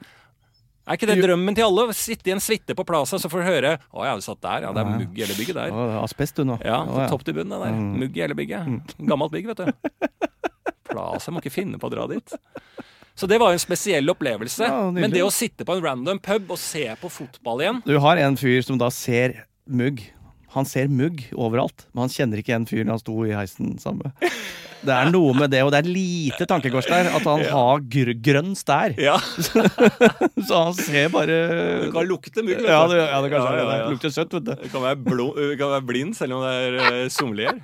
Er ikke det
Jo.
drømmen til alle? Å Sitte i en suite på Plaza, så får du høre Å ja, du satt der. Ja, det er mugg i hele bygget der.
Å, det er asbest, du, nå.
Ja,
Å, Mm.
fra topp til bunn, det der. Mugg i hele bygget. Gammelt bygg, vet du. Plaza må ikke finne på å dra dit. Så det var jo en spesiell opplevelse.
Ja, nydelig.
Men det å sitte på en random pub og se på fotball igjen
Du har en fyr som da ser mugg. Han ser mugg overalt, men han kjenner ikke igjen fyren han sto i heisen sammen med. Det er noe med det, og det er lite tankekors der, at han har gr grønn stær.
Ja,
Så han ser bare
det kan lukte mugg. vet du.
Ja, det, ja, det kanskje
Ja,
er det.
ja, ja.
Det lukter søtt, vet du.
Du kan være, blå, du kan være blind selv om det er eh, sommelier.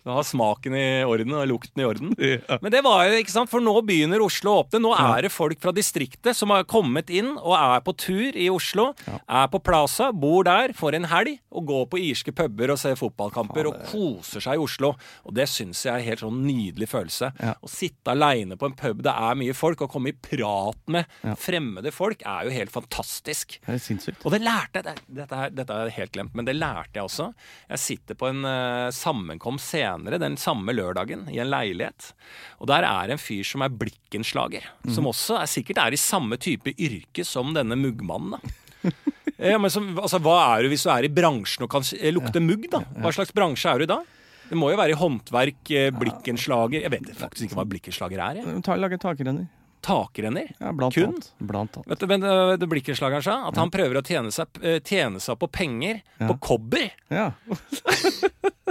Du har smaken i orden og lukten i orden.
Ja.
Men det var jo, ikke sant, for nå begynner Oslo å åpne. Nå er det folk fra distriktet som har kommet inn og er på tur i Oslo. Er på Plaza, bor der, får en helg og går på irske puber og ser fotballkamper og koser seg i Oslo. Og det syns jeg er en helt sånn nydelig følelse.
Ja.
Å sitte aleine på en pub det er mye folk, og komme i prat med fremmede folk, er jo helt fantastisk.
Det er sinnssykt.
Og det lærte jeg det- dette, her, dette har jeg helt glemt, men det lærte jeg også. Jeg sitter på en eh, sammenkomst senere, den samme lørdagen, i en leilighet. Og der er en fyr som er blikkenslager. Som også er, sikkert er i samme type yrke som denne muggmannen. da. Ja, men som, altså, hva er du hvis du er i bransjen og kan s- eh, lukte mugg, da? Hva slags bransje er du da? Det må jo være i håndverk, eh, blikkenslager Jeg vet faktisk ikke hva blikkenslager er. jeg.
Ta, lage takrenner.
Takrenner?
Ja, blant
Kun?
annet. Blant annet.
Vet du, men øh, det blikkenslageren sa at han prøver å tjene seg, øh, tjene seg på penger på kobber.
Ja.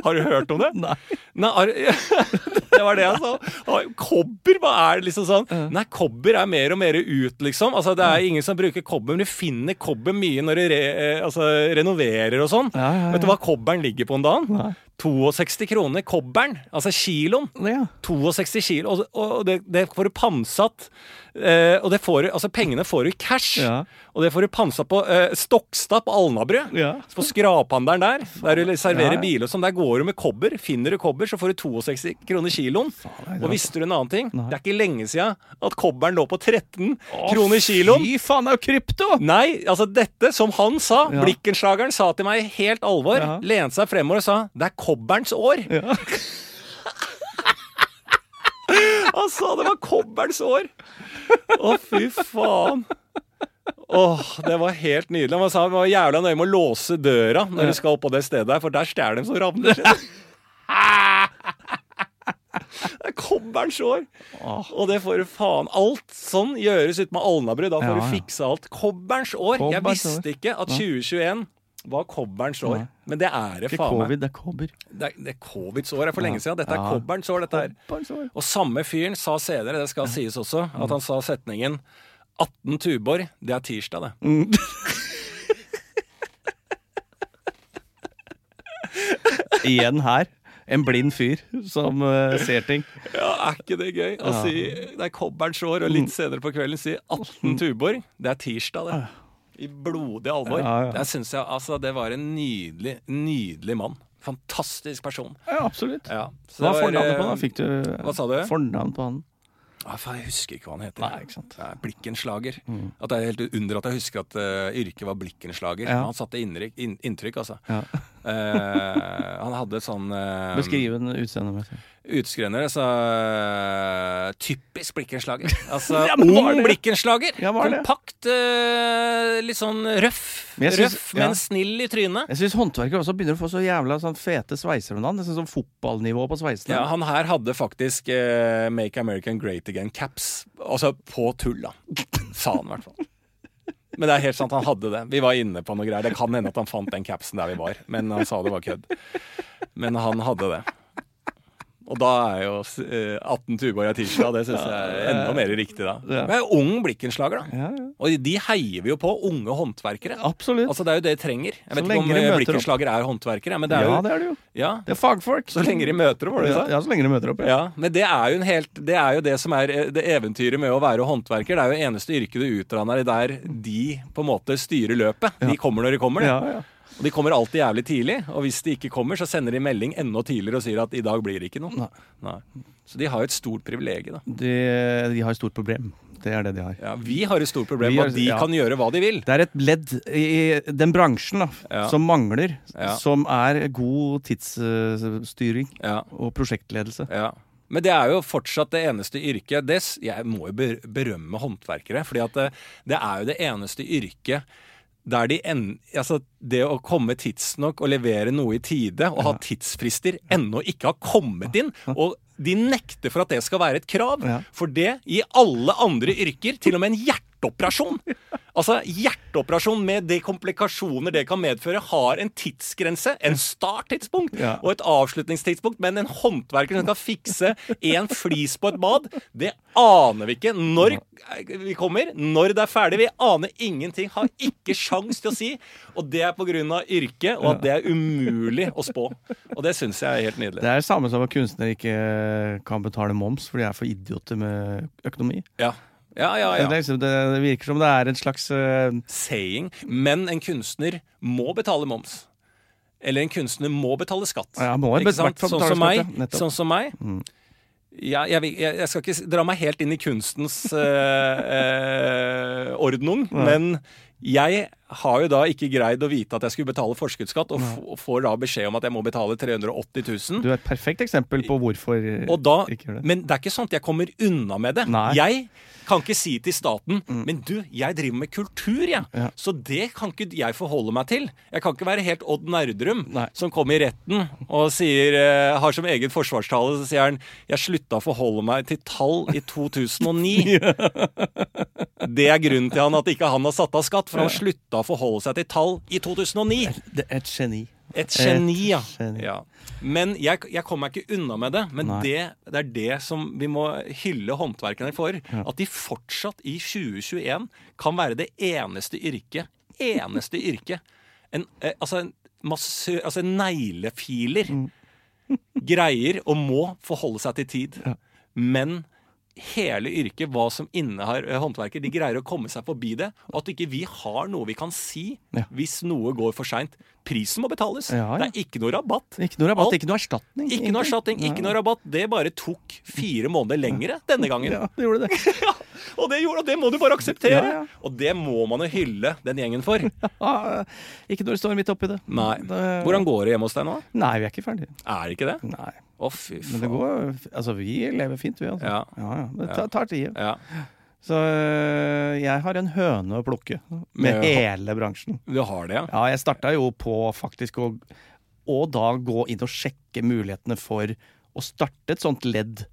Har du hørt om det?
Nei.
Nei, har, det var det jeg sa. Har- Kobber, hva er det liksom sånn? Nei, kobber er mer og mer ut, liksom. Altså, det er ingen som bruker kobber, men du finner kobber mye når du re, eh, øh, altså, renoverer og sånn.
Ja, ja, ja.
Vet du hva kobberen ligger på om dagen?
Nei.
62 kroner kobberen, altså kiloen.
Ja.
62 kilo, og, og det, det får du pantsatt. Eh, og det får du, altså pengene får du i cash.
Ja.
Og det får du pantsatt på eh, Stokstad på Alnabru.
Ja.
På skraphandelen der, der du serverer
Ja, ja.
biler og sånn. Der går du med kobber. Finner du kobber, så får du 62 kroner kiloen.
det er
og visste du en annen ting?
Nei.
Det er ikke lenge siden at kobberen lå på 13 kroner kiloen.
Fy faen, det er jo krypto!
Nei, altså dette, som han sa,
Ja.
Blikkenslageren sa til meg i helt alvor,
Ja.
lente seg fremover og sa 'det er kobberens år'.
Ja.
Han sa det var kobberens år! Å, fy faen. Åh, Det var helt nydelig. Han sa han var jævla nøye med å låse døra når du skal opp på det stedet der, for der stjeler de som ravner. Det er kobberens år!
Ah.
Og det får du faen. Alt sånn gjøres ute med Alnabru. Da får
Ja, ja.
du fikse alt. Kobberens år! Jeg
Kobberens år.
visste ikke at 2021 var kobberens år.
Nei.
Men det er det,
Ikke
faen meg.
covid, det er kobber.
Det er, det er covids år. Det er for lenge siden. Dette er
Ja.
kobberens år, dette her. Og samme fyren sa senere, det skal sies også,
Mm.
at han sa setningen 18 Tuborg, det er tirsdag, det.
Igjen her. En blind fyr som eh, ser ting.
Ja, Er ikke det gøy? Å si det er kobberens år, og
Mm.
litt senere på kvelden si 18 Tuborg, det er tirsdag, det. I blodig alvor.
Ja, ja.
Der synes jeg altså det var en nydelig, nydelig mann. Fantastisk person.
Ja, absolutt.
Ja. Så
Hva er
det var,
fornavnet på han?
eh,
da? Fikk du
Hva sa du?
fornavn på han?
Ja, Ah, faen, jeg husker ikke hva han heter.
Nei, ikke sant. Mm.
Det er Blikkenslager. At det er helt under at jeg husker at eh, yrket var Blikkenslager.
Ja.
Han satte innrykk, inn, inntrykk, altså.
Ja.
Eh, han hadde sånn uh,
Beskriv den utseendemessig.
utskrenner, altså eh, Typisk Blikkenslager. Altså
Ja, men var
ung
det?
Blikkenslager.
Ja, var det?
Kompakt, eh, litt sånn røff.
Men jeg synes-
røff,
ja.
men snill i trynet.
Jeg syns håndverkere også begynner å få så jævla sånn fete sveiser om dagen. Nesten sånn fotballnivå på sveisene.
Ja, han her hadde faktisk eh, Make American Great Again-caps. Altså på tull, da. Sa han i hvert fall. Men det er helt sant, han hadde det. Vi var inne på noe greier. Det kan hende at han fant den capsen der vi var, men han sa det var kødd. Men han hadde det. Og da er jo eh, 18 Tuborg er tirsdag, det syns jeg er enda mer riktig da.
Ja.
Men jeg er ung blikkenslager, da.
Ja, ja.
Og de heier vi jo på, unge håndverkere.
Absolutt.
Altså Det er jo det de trenger. Jeg
Så
vet ikke
lenge
om
de
eh,
møter opp.
blikkenslager er håndverkere, men det er
ja,
jo
det er det jo.
Ja,
Det er fagfolk.
så lenge de møter opp, var det
ja,
det?
ja, så lenge de møter opp.
Ja, men det er jo, en helt, det er jo det som er eh, det eventyret med å være håndverker. Det er jo eneste yrket du utdanner i der de på en måte styrer løpet. De kommer når de kommer. de.
Ja, ja.
Og de kommer alltid jævlig tidlig. Og hvis de ikke kommer, så sender de melding enda tidligere og sier at i dag blir det ikke noe.
Nei.
Nei. Så de har jo et stort privilegium, da.
De, de har et stort problem. Det er det de har.
Ja, vi har et stort problem
Vi
med
har-
at de
ja.
kan gjøre hva de vil.
Det er et ledd i den bransjen da,
Ja.
som mangler,
Ja.
som er god tidsstyring
Ja,
og prosjektledelse.
ja. Men det er jo fortsatt det eneste yrket det, s- Jeg må jo ber- berømme håndverkere, fordi at det, det er jo det eneste yrket der de en, altså Det å komme tidsnok og levere noe i tide og ha tidsfrister ennå ikke har kommet inn. og de nekter for at det skal være et krav,
Ja.
for det i alle andre yrker, til og med en hjerteoperasjon Altså, hjerteoperasjon med de komplikasjoner det kan medføre, har en tidsgrense, en starttidspunkt
Ja.
og et avslutningstidspunkt, men en håndverker som skal fikse en flis på et bad, det aner vi ikke når vi kommer, når det er ferdig. Vi aner ingenting, har ikke sjans til å si. Og det er på grunn av yrket, og at det er umulig å spå. Og det syns jeg er helt nydelig.
Det er det samme som at kunstnere ikke kan betale moms fordi de er for idioter med økonomi.
Ja, ja, ja.
Det,
ja.
er liksom, det det virker som det er en slags eh,
saying, men en kunstner må betale moms. Eller en kunstner må betale skatt.
Ja, må i
Ikke sant?
hvert fall
sånn,
betale
som meg,
skatt, ja, nettopp. Mm.
sånn som meg. Ja, jeg, vil- jeg, jeg skal ikke s- dra meg helt inn i kunstens eh, eh, ordnung, men jeg har jo da ikke greid å vite at jeg skulle betale forskuddsskatt, og, f og får da beskjed om at jeg må betale 380 000.
Du er et perfekt eksempel på hvorfor eh,
Og da,
ikke gjør det.
men det er ikke sånn at jeg kommer unna med det.
Nei. Mm.
Jeg kan ikke si til staten Men du, jeg driver med kultur, jeg.
Ja.
Så det kan ikke jeg forholde meg til. Jeg kan ikke være helt Odd Nerdrum
Nei.
som kom i retten og sier, eh, har som egen forsvarstale så sier han Jeg slutta å forholde meg til tall i 2009. Det er grunnen til han at ikke han har satt av skatt, for han slutta å forholde seg til tall i 2009.
Det er et geni.
Et geni, ja.
geni.
ja. Men jeg, jeg kommer meg ikke unna med det. Men
Nei.
det, det er det som vi må hylle håndverkerne for. At de fortsatt i 2021 kan være det eneste yrket, eneste yrket en, eh, Altså en massør, altså en neglefiler greier og må forholde seg til tid.
Ja.
Men hele yrket, hva som innehar eh, håndverket, de greier å komme seg forbi det. Og at ikke vi har noe vi kan si
Ja.
hvis noe går for seint. Prisen må betales.
Ja, ja.
Det er ikke noe rabatt.
Ikke noe rabatt,
Alt-
ikke noe erstatning.
Ikke noe
egentlig.
erstatning, ikke noe rabatt. Det bare tok fire måneder lengre denne gangen.
Ja, det gjorde det.
Ja, og det gjorde og det må du bare akseptere.
Ja, ja.
Og det må man jo hylle den gjengen for.
Ah, ikke når du står midt oppi det.
Nei.
Det-
Hvordan går det hjemme hos deg nå?
Nei, vi er ikke ferdige.
Er det ikke det?
Nei.
Å, fy
Men det
faen.
går Altså, vi lever fint, vi, altså.
Ja.
Ja, ja. Det tar, tar tid.
Ja.
Så øh, jeg har en høne å plukke med
Med-
hele bransjen.
Du har det, ja?
Ja, jeg starta jo på faktisk å og da gå inn og sjekke mulighetene for å starte et sånt ledd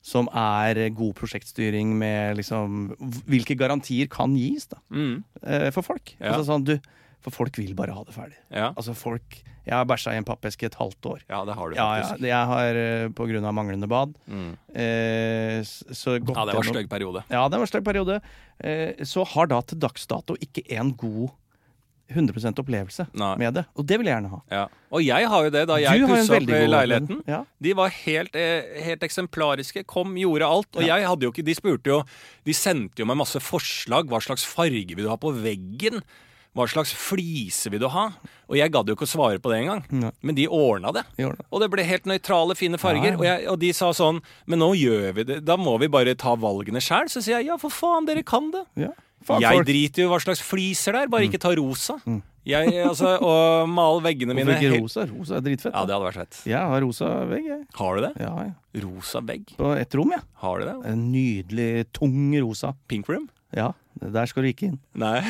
som er god prosjektstyring med liksom Hvilke garantier kan gis, da,
Mm.
eh, for folk?
Ja.
Altså sånn, du, for folk vil bare ha det ferdig.
Ja.
Altså folk Jeg har bæsja i en pappeske et halvt år.
ja, det har du
Ja, ja,
faktisk.
jeg har eh, på grunn av manglende bad
Mm.
eh, s- så gått
Ja, det var
gjennom-
stygg periode.
Ja, det var en stygg periode. Eh, så har da til dags dato ikke en god 100 opplevelse
Nei.
med det. Og det vil jeg gjerne ha.
Ja. Og jeg har jo det, da
Du
jeg
har en
pussa opp
veldig
eh,
god
leiligheten.
opplevelse. Ja.
De var helt, eh, helt eksemplariske. Kom, gjorde alt. Og jeg hadde jo ikke De spurte jo De sendte jo meg masse forslag. Hva slags farge vil du ha på veggen? Hva slags flise vil du ha? Og jeg gadd jo ikke å svare på det engang.
Nei.
Men de ordna det.
Gjorde det.
Og det ble helt nøytrale, fine farger. Og, jeg, og de sa sånn Men nå gjør vi det. Da må vi bare ta valgene sjæl. Så sier jeg ja, for faen, dere kan det.
Ja. Fagfolk.
Jeg driter jo i hva slags fliser det er,
Mm.
bare ikke ta rosa. Jeg, altså, og male veggene mine
Hvorfor ikke
helt-
rosa? Rosa er dritfett.
Ja,
da.
det hadde vært fett.
Jeg har rosa vegg, jeg.
Har du det?
Ja, ja.
Rosa vegg?
På ett rom, jeg.
Har du det?
Ja. En nydelig, tung rosa.
Pink room?
Ja, der skal du ikke inn.
Nei.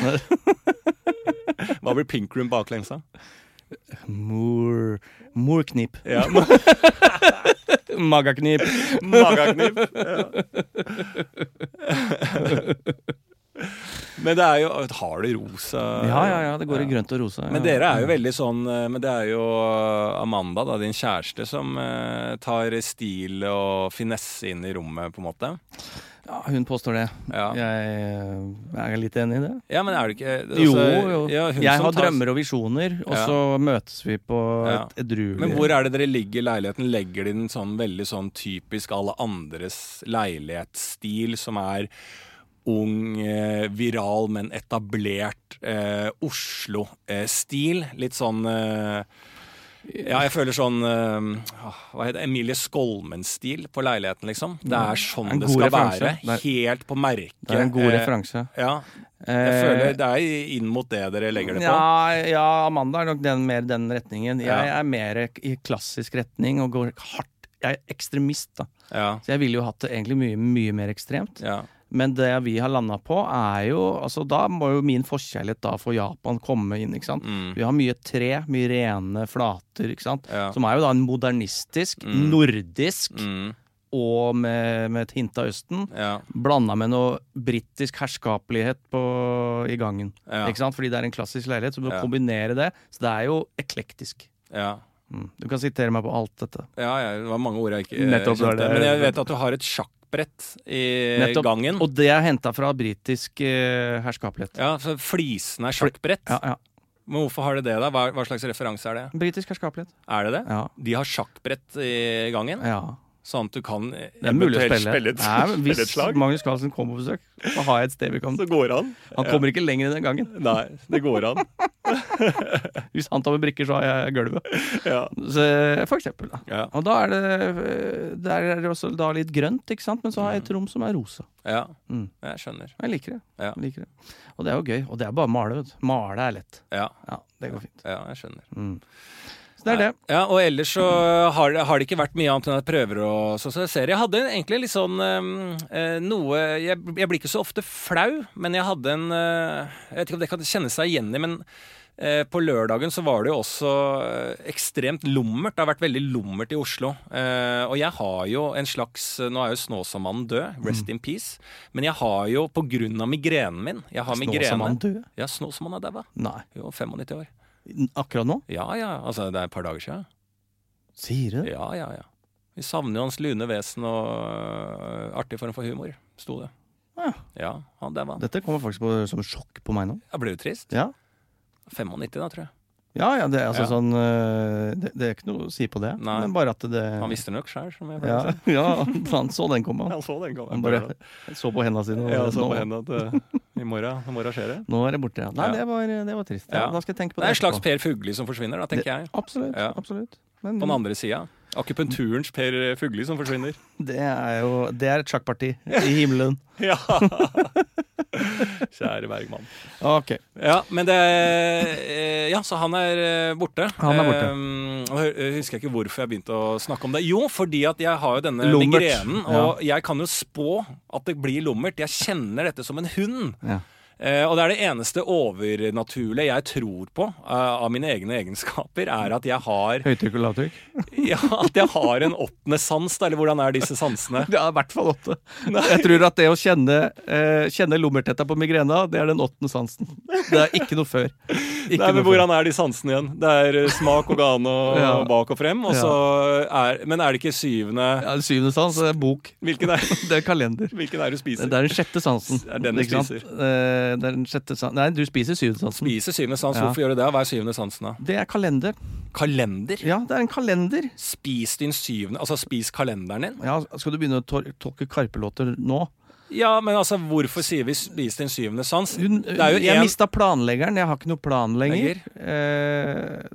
Hva blir pink room baklengs, da?
Mor... Morknip.
Ja,
Magaknip.
Magaknip. Men det er jo Har du rosa
Ja, ja, ja. Det går i grønt og rosa.
Men dere er jo veldig sånn eh, Men det er jo eh, Amanda, da, din kjæreste, som eh, tar stil og finesse inn i rommet, på en måte.
ja, Hun påstår det.
Ja,
Jeg eh, er litt enig i det.
ja men er du ikke altså,
Jo, jo.
ja, hun
jeg
som
har
tar-
drømmer og visjoner, og
Ja.
så møtes vi på et edruelig
Men hvor er det dere ligger i leiligheten? Legger de den sånn veldig sånn typisk alle andres leilighetsstil, som er ung, eh, viral, men etablert eh, Oslo-stil? Litt sånn eh, Ja, jeg føler sånn eh, ah, Hva heter det? Emilie Skolmen-stil på leiligheten, liksom. Det er
Mm. En
sånn det
god
skal
referanse. Det
være.
er-
Helt på merket.
Det er en god
Eh,
referanse. Eh,
Ja. Jeg føler det er inn mot det dere legger det på.
Ja, ja, Amanda er nok den, mer den retningen. Jeg
Ja.
er mer i klassisk retning og går hardt. Jeg er ekstremist, da.
Ja.
Så jeg ville jo hatt det egentlig mye, mye mer ekstremt.
ja.
Men det vi har landa på, er jo altså Da må jo min forkjærlighet da for Japan komme inn, ikke sant.
Mm.
Vi har mye tre, mye rene flater, ikke sant.
Ja.
Som er jo da en modernistisk,
Mm.
nordisk
Mm.
og med, med et hint av Østen.
Ja.
Blanda med noe britisk herskapelighet på, i gangen.
Ja.
Ikke sant? Fordi det er en klassisk leilighet, så du må
Ja.
kombinere det. Så det er jo eklektisk.
ja.
Mm. Du kan sitere meg på alt dette.
Ja, ja, det var mange ord jeg ikke eh,
Nettopp, det var
kjente.
det.
Men jeg vet at du har et sjakkbrett i
Nettopp.
gangen.
Og det er henta fra britisk eh, herskapelighet.
Ja, så Flisen er sjakkbrett.
Ja, ja.
Men hvorfor har de det, da? Hva, hva slags referanse er det?
Britisk herskapelighet.
Er det det?
Ja.
De har sjakkbrett i gangen,
ja.
sånn at du kan
Det er mulig å
eventuelt
spille.
et,
Nei, men
spille et
hvis
slag.
Magnus Carlsen kommer på besøk, så har jeg et sted vi kan
Så går det an.
Han kommer ikke lenger enn den gangen.
Nei, det går an.
Hvis han tar med brikker, så har jeg gulvet.
Ja.
Så, for eksempel, da.
Ja.
Og da er det øh, Der er det også da litt grønt, ikke sant? Men så har jeg et rom som er rosa.
ja.
Mm.
Jeg skjønner.
Jeg liker det.
Ja.
Jeg liker det. Og det er jo gøy. Og det er bare å male, vet du. Male er lett.
Ja,
Ja, det går fint.
ja jeg skjønner.
Mm. Så det er det.
Ja, og ellers så har, det- har det ikke vært mye annet enn at jeg prøver å sosialisere. Jeg hadde egentlig litt sånn ehm, eh, noe jeg, jeg blir ikke så ofte flau, men jeg hadde en eh, Jeg vet ikke om det kan kjenne seg igjen i, men eh, på lørdagen så var det jo også eh, ekstremt lummert. Det har vært veldig lummert i Oslo. Eh, og jeg har jo en slags Nå er jo Snåsamannen død, rest in peace. Men jeg har jo, på grunn av migrenen min Jeg har
Nå som han
migrene.
død?
Ja, Snåsamannen er daua.
Nei.
Jo, 95 år.
N- Akkurat nå?
Ja ja, altså det er et par dager sia.
Sier du det?
Ja, ja, ja. Vi savner jo hans lune vesen og øh, artig form for humor, sto det.
Ja.
Ja, han der var han.
Dette kommer faktisk på, som sjokk på meg nå.
Jeg ble jo trist.
Ja.
95 da, tror jeg.
Ja, ja, det er altså
Ja.
sånn øh, det, det er ikke noe å si på det.
Nei.
Men bare at det
Han visste det liksom. nok sjøl, som jeg pleier
ja,
å si.
ja, han så den komme, han.
Han så den
Han
gangen.
bare så på hendene sine. og
Ja, så
nå,
på henne at eh, i morgen, i morgen skjer det.
nå er det borte, ja. Nei,
Ja.
det var, det var trist. Ja.
Ja.
Da skal jeg tenke på
Det
det.
er en slags
etterpå.
Per Fugli som forsvinner, da, tenker jeg.
Absolutt.
Ja.
absolutt. Men
På den andre sida. Akupunkturens Per Fugli som forsvinner.
det er jo Det er et sjakkparti i himmelen.
Ja! Kjære Bergman.
Ok.
Ja, men det eh, Ja, så han er eh, borte.
Han er borte.
Eh, og jeg husker ikke hvorfor jeg begynte å snakke om det. Jo, fordi at jeg har jo denne
Lommert.
migrenen, og jeg kan jo spå at det blir lommert. Jeg kjenner dette som en hund.
Ja.
Eh, og det er det eneste overnaturlige jeg tror på eh, av mine egne egenskaper, er at jeg har,
Høytrykk og lavtrykk?
ja, at jeg har en åttende sans, da, eller hvordan er disse sansene?
Det er i hvert fall åtte. Jeg tror at det å kjenne, eh, kjenne lommertetta på migrena, det er den åttende sansen. Det er ikke noe før.
Nei, men
Ikke noe før.
Hvordan er de sansene igjen? Det er eh, smak, organ og
Ja.
bak og frem. Og
Ja.
så er, men er det ikke syvende
Ja, den syvende sans er bok.
Hvilken er,
Det er kalender.
hvilken er det du spiser?
Det er den sjette sansen.
Det er den du
ikke sant?
spiser.
Eh, Det er den sjette sansen. Nei, du spiser syvende sansen.
Spiser syvende sans.
Ja.
Hvorfor gjør du det? Hva er syvende sansen, da?
Det er kalender.
Kalender?
Ja, det er en kalender.
Spis din syvende Altså, spis kalenderen din?
Ja, Skal du begynne å tor- tolke Karpe-låter nå?
Ja, men altså, hvorfor sier vi 'spis din syvende sans'?
Hun,
Det er jo
jeg
en-
mista planleggeren. Jeg har ikke noe plan lenger. Eh,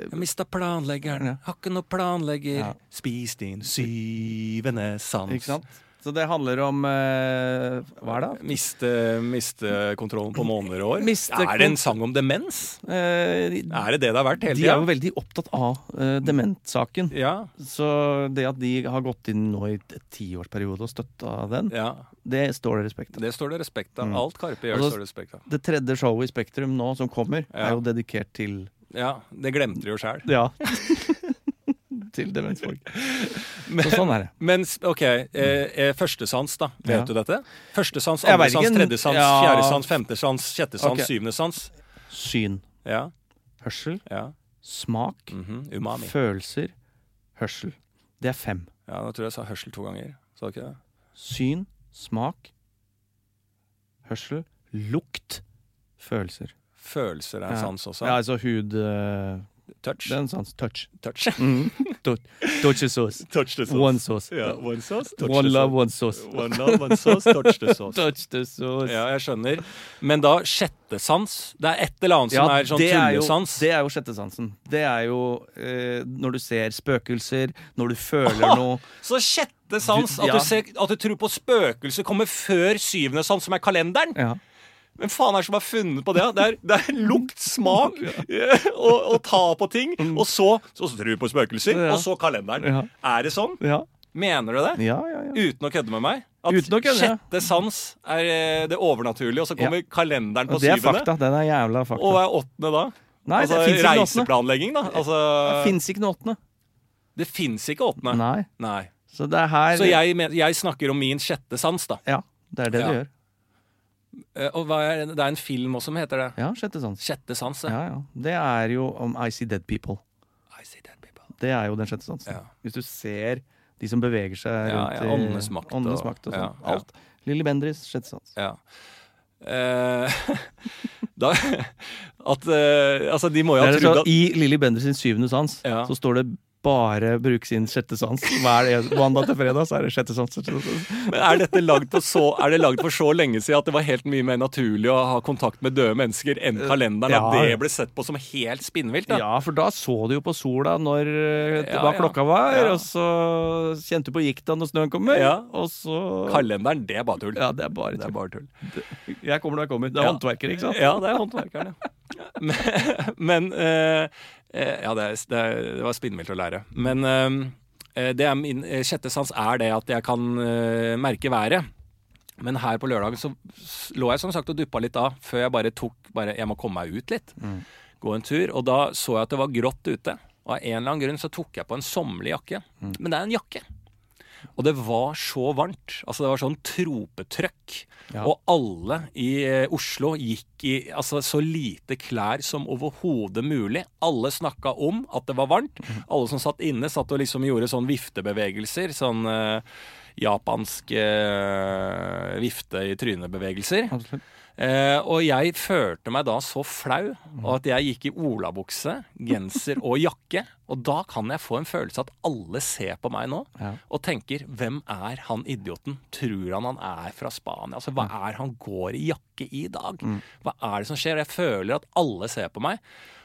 Jeg mista planleggeren, har ikke noe planlegger.
Ja.
Spis din syvende sans.
ikke sant? Så det handler om eh, Hva er det?
Miste, miste kontrollen på måneder og år.
Miste
er det en sang om demens?
Eh,
Er det det det har vært hele
De er jo
tida?
veldig opptatt av eh, dementsaken.
Ja,
Så det at de har gått inn nå i et tiårsperiode og støtta den,
ja.
det står det respekt av.
Det står det respekt av.
Mm.
Alt Karpe gjør,
Altså,
står det respekt av.
Det tredje showet i Spektrum nå som kommer,
Ja.
er jo dedikert til
Ja, det glemte de jo sjæl.
Ja. til demensfolk. Så
Men-
sånn er det.
Men s- OK, eh, eh, førstesans, da. Vet
Ja.
du dette? Førstesans,
Jeg
andre
vet
sans,
ikke.
tredje sans,
Ja.
fjerde sans, femte sans, sjette sans,
Ok.
syvende sans.
Syn,
Ja,
hørsel,
ja.
smak,
mhm, Umami.
følelser, hørsel. Det er fem.
Ja, nå tror jeg jeg sa hørsel to ganger. Sa du ikke det?
Syn, smak, hørsel, lukt, følelser.
Følelser er en
Ja.
sans også.
Ja, altså hud eh,
Touch.
Det er en sans. Touch.
Touch.
Mm. Dot- Dodger sauce.
Mm-hmm. Touch the
One sauce.
Ja, one sauce. touch
One
the
love,
sauce.
one sauce.
One love, one sauce, touch the sauce.
Touch the sauce.
Ja, jeg skjønner. Men da sjette sans? Det er et eller annet som er sånn
det er jo-
tullesans.
Det er jo sjette sansen. Det er jo eh, når du ser spøkelser, når du føler noe
Så sjette sans,
Du-
at,
ja.
du ser, at du tror på spøkelser, kommer før syvende sans, som er kalenderen.
ja.
Hvem faen er det som har funnet på det? da? Det er, det er lukt, smak og, og ta på ting. Og så, så tror du på spøkelser,
Mm. Ja.
og så kalenderen.
Ja.
Er det sånn?
Ja.
Mener du det?
Ja, ja, ja.
Uten å kødde med meg? At
Uten å kødde, ja.
sjette sans er eh, det overnaturlige, og så kommer kalenderen på
Og det er
syvende.
fakta. Den er jævla
Og
fakta.
hva er åttende da?
Nei, det
altså
fins ikke noe åttende.
reiseplanlegging, da? Altså,
Det Fins ikke noe åttende.
det fins ikke åttende.
Nei.
Nei.
Så det er her
Så jeg, men- jeg snakker om min sjette sans, da.
Ja, det er det
Ja.
du gjør.
Eh, Og hva er, det er en film også som heter det.
Ja, sjette sans.
Sjette sans. Ja.
Ja, ja. Det er jo om I see dead people.
I see dead people.
Det er jo den sjette sansen.
Ja.
Hvis du ser de som beveger seg
Ja,
rundt
ja,
i-
åndenes makt og-
åndenes makt og
ja,
sånn.
ja.
Alt. Lilly Bendriss, sjette sans.
Ja. Eh, da, at eh, Altså, de må jo ha
Det er
trodd
så,
at
I Lilly Bendriss sin syvende sans
Ja.
så står det bare 'bruk sin sjette sans'. Hver en- mandag til fredag så er det sjette sans. Sjette sans.
Men er dette lagd for så, er det lagd for så lenge siden at det var helt mye mer naturlig å ha kontakt med døde mennesker enn kalenderen?
Eh, ja.
At det ble sett på som helt spinnvilt? Da.
Ja, for da så du jo på sola når, eh,
Ja,
hva
ja.
klokka var,
Ja.
og så kjente du på gikta når snøen kommer,
Ja.
og så
Kalenderen, det er bare tull.
Ja, det er bare
Det er bare tull.
Jeg kommer når jeg kommer. Det er
Ja.
håndverker, ikke sant?
Ja, det er håndverkeren, ja. Men, men eh, eh, Ja, det, er, det, er, det var spinnvilt å lære. Men eh, det er min eh, sjette sans er det at jeg kan eh, merke været. Men her på lørdagen så s- lå jeg som sagt og duppa litt av før jeg bare tok bare, Jeg må komme meg ut litt. Gå en tur. Og da så jeg at det var grått ute. Og av en eller annen grunn så tok jeg på en sommerlig jakke. Men det er en jakke. Og det var så varmt. Altså Det var sånn tropetrøkk.
Ja.
Og alle i eh, Oslo gikk i altså, så lite klær som overhodet mulig. Alle snakka om at det var varmt. Alle som satt inne, satt og liksom gjorde sånn viftebevegelser. Sånn eh, japansk eh, vifte i trynet-bevegelser.
Absolutt.
Eh, og jeg følte meg da så flau og at jeg gikk i olabukse, genser og jakke. Og da kan jeg få en følelse at alle ser på meg nå
Ja.
og tenker 'Hvem er han idioten? Tror han han er fra Spania?' Altså, hva er han går i jakke i i dag? Hva er det som skjer? Jeg føler at alle ser på meg.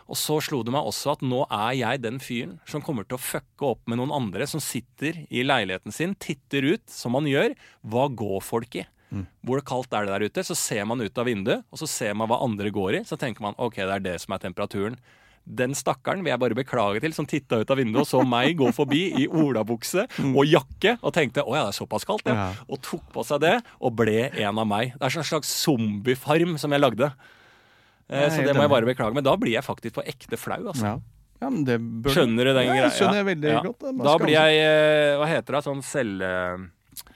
Og så slo det meg også at nå er jeg den fyren som kommer til å fucke opp med noen andre som sitter i leiligheten sin, titter ut, som man gjør. Hva går folk i?
Mm.
Hvor kaldt er det der ute? Så ser man ut av vinduet, og så ser man hva andre går i. Så tenker man ok, det er det som er temperaturen. Den stakkaren vil jeg bare beklage til, som titta ut av vinduet og så meg gå forbi i olabukse og jakke og tenkte å ja, det er såpass kaldt, ja.
Mm. Ja.
Og tok på seg det og ble en av meg. Det er sånn slags zombiefarm som jeg lagde. Eh,
Jeg er
så
helt
det må
enig.
jeg bare beklage. Men da blir jeg faktisk på ekte flau, altså.
Ja. ja, men det bør
Skjønner du den
Ja,
greia?
jeg skjønner veldig godt det. Man
Da
skal
blir jeg, eh, hva heter det, sånn selv...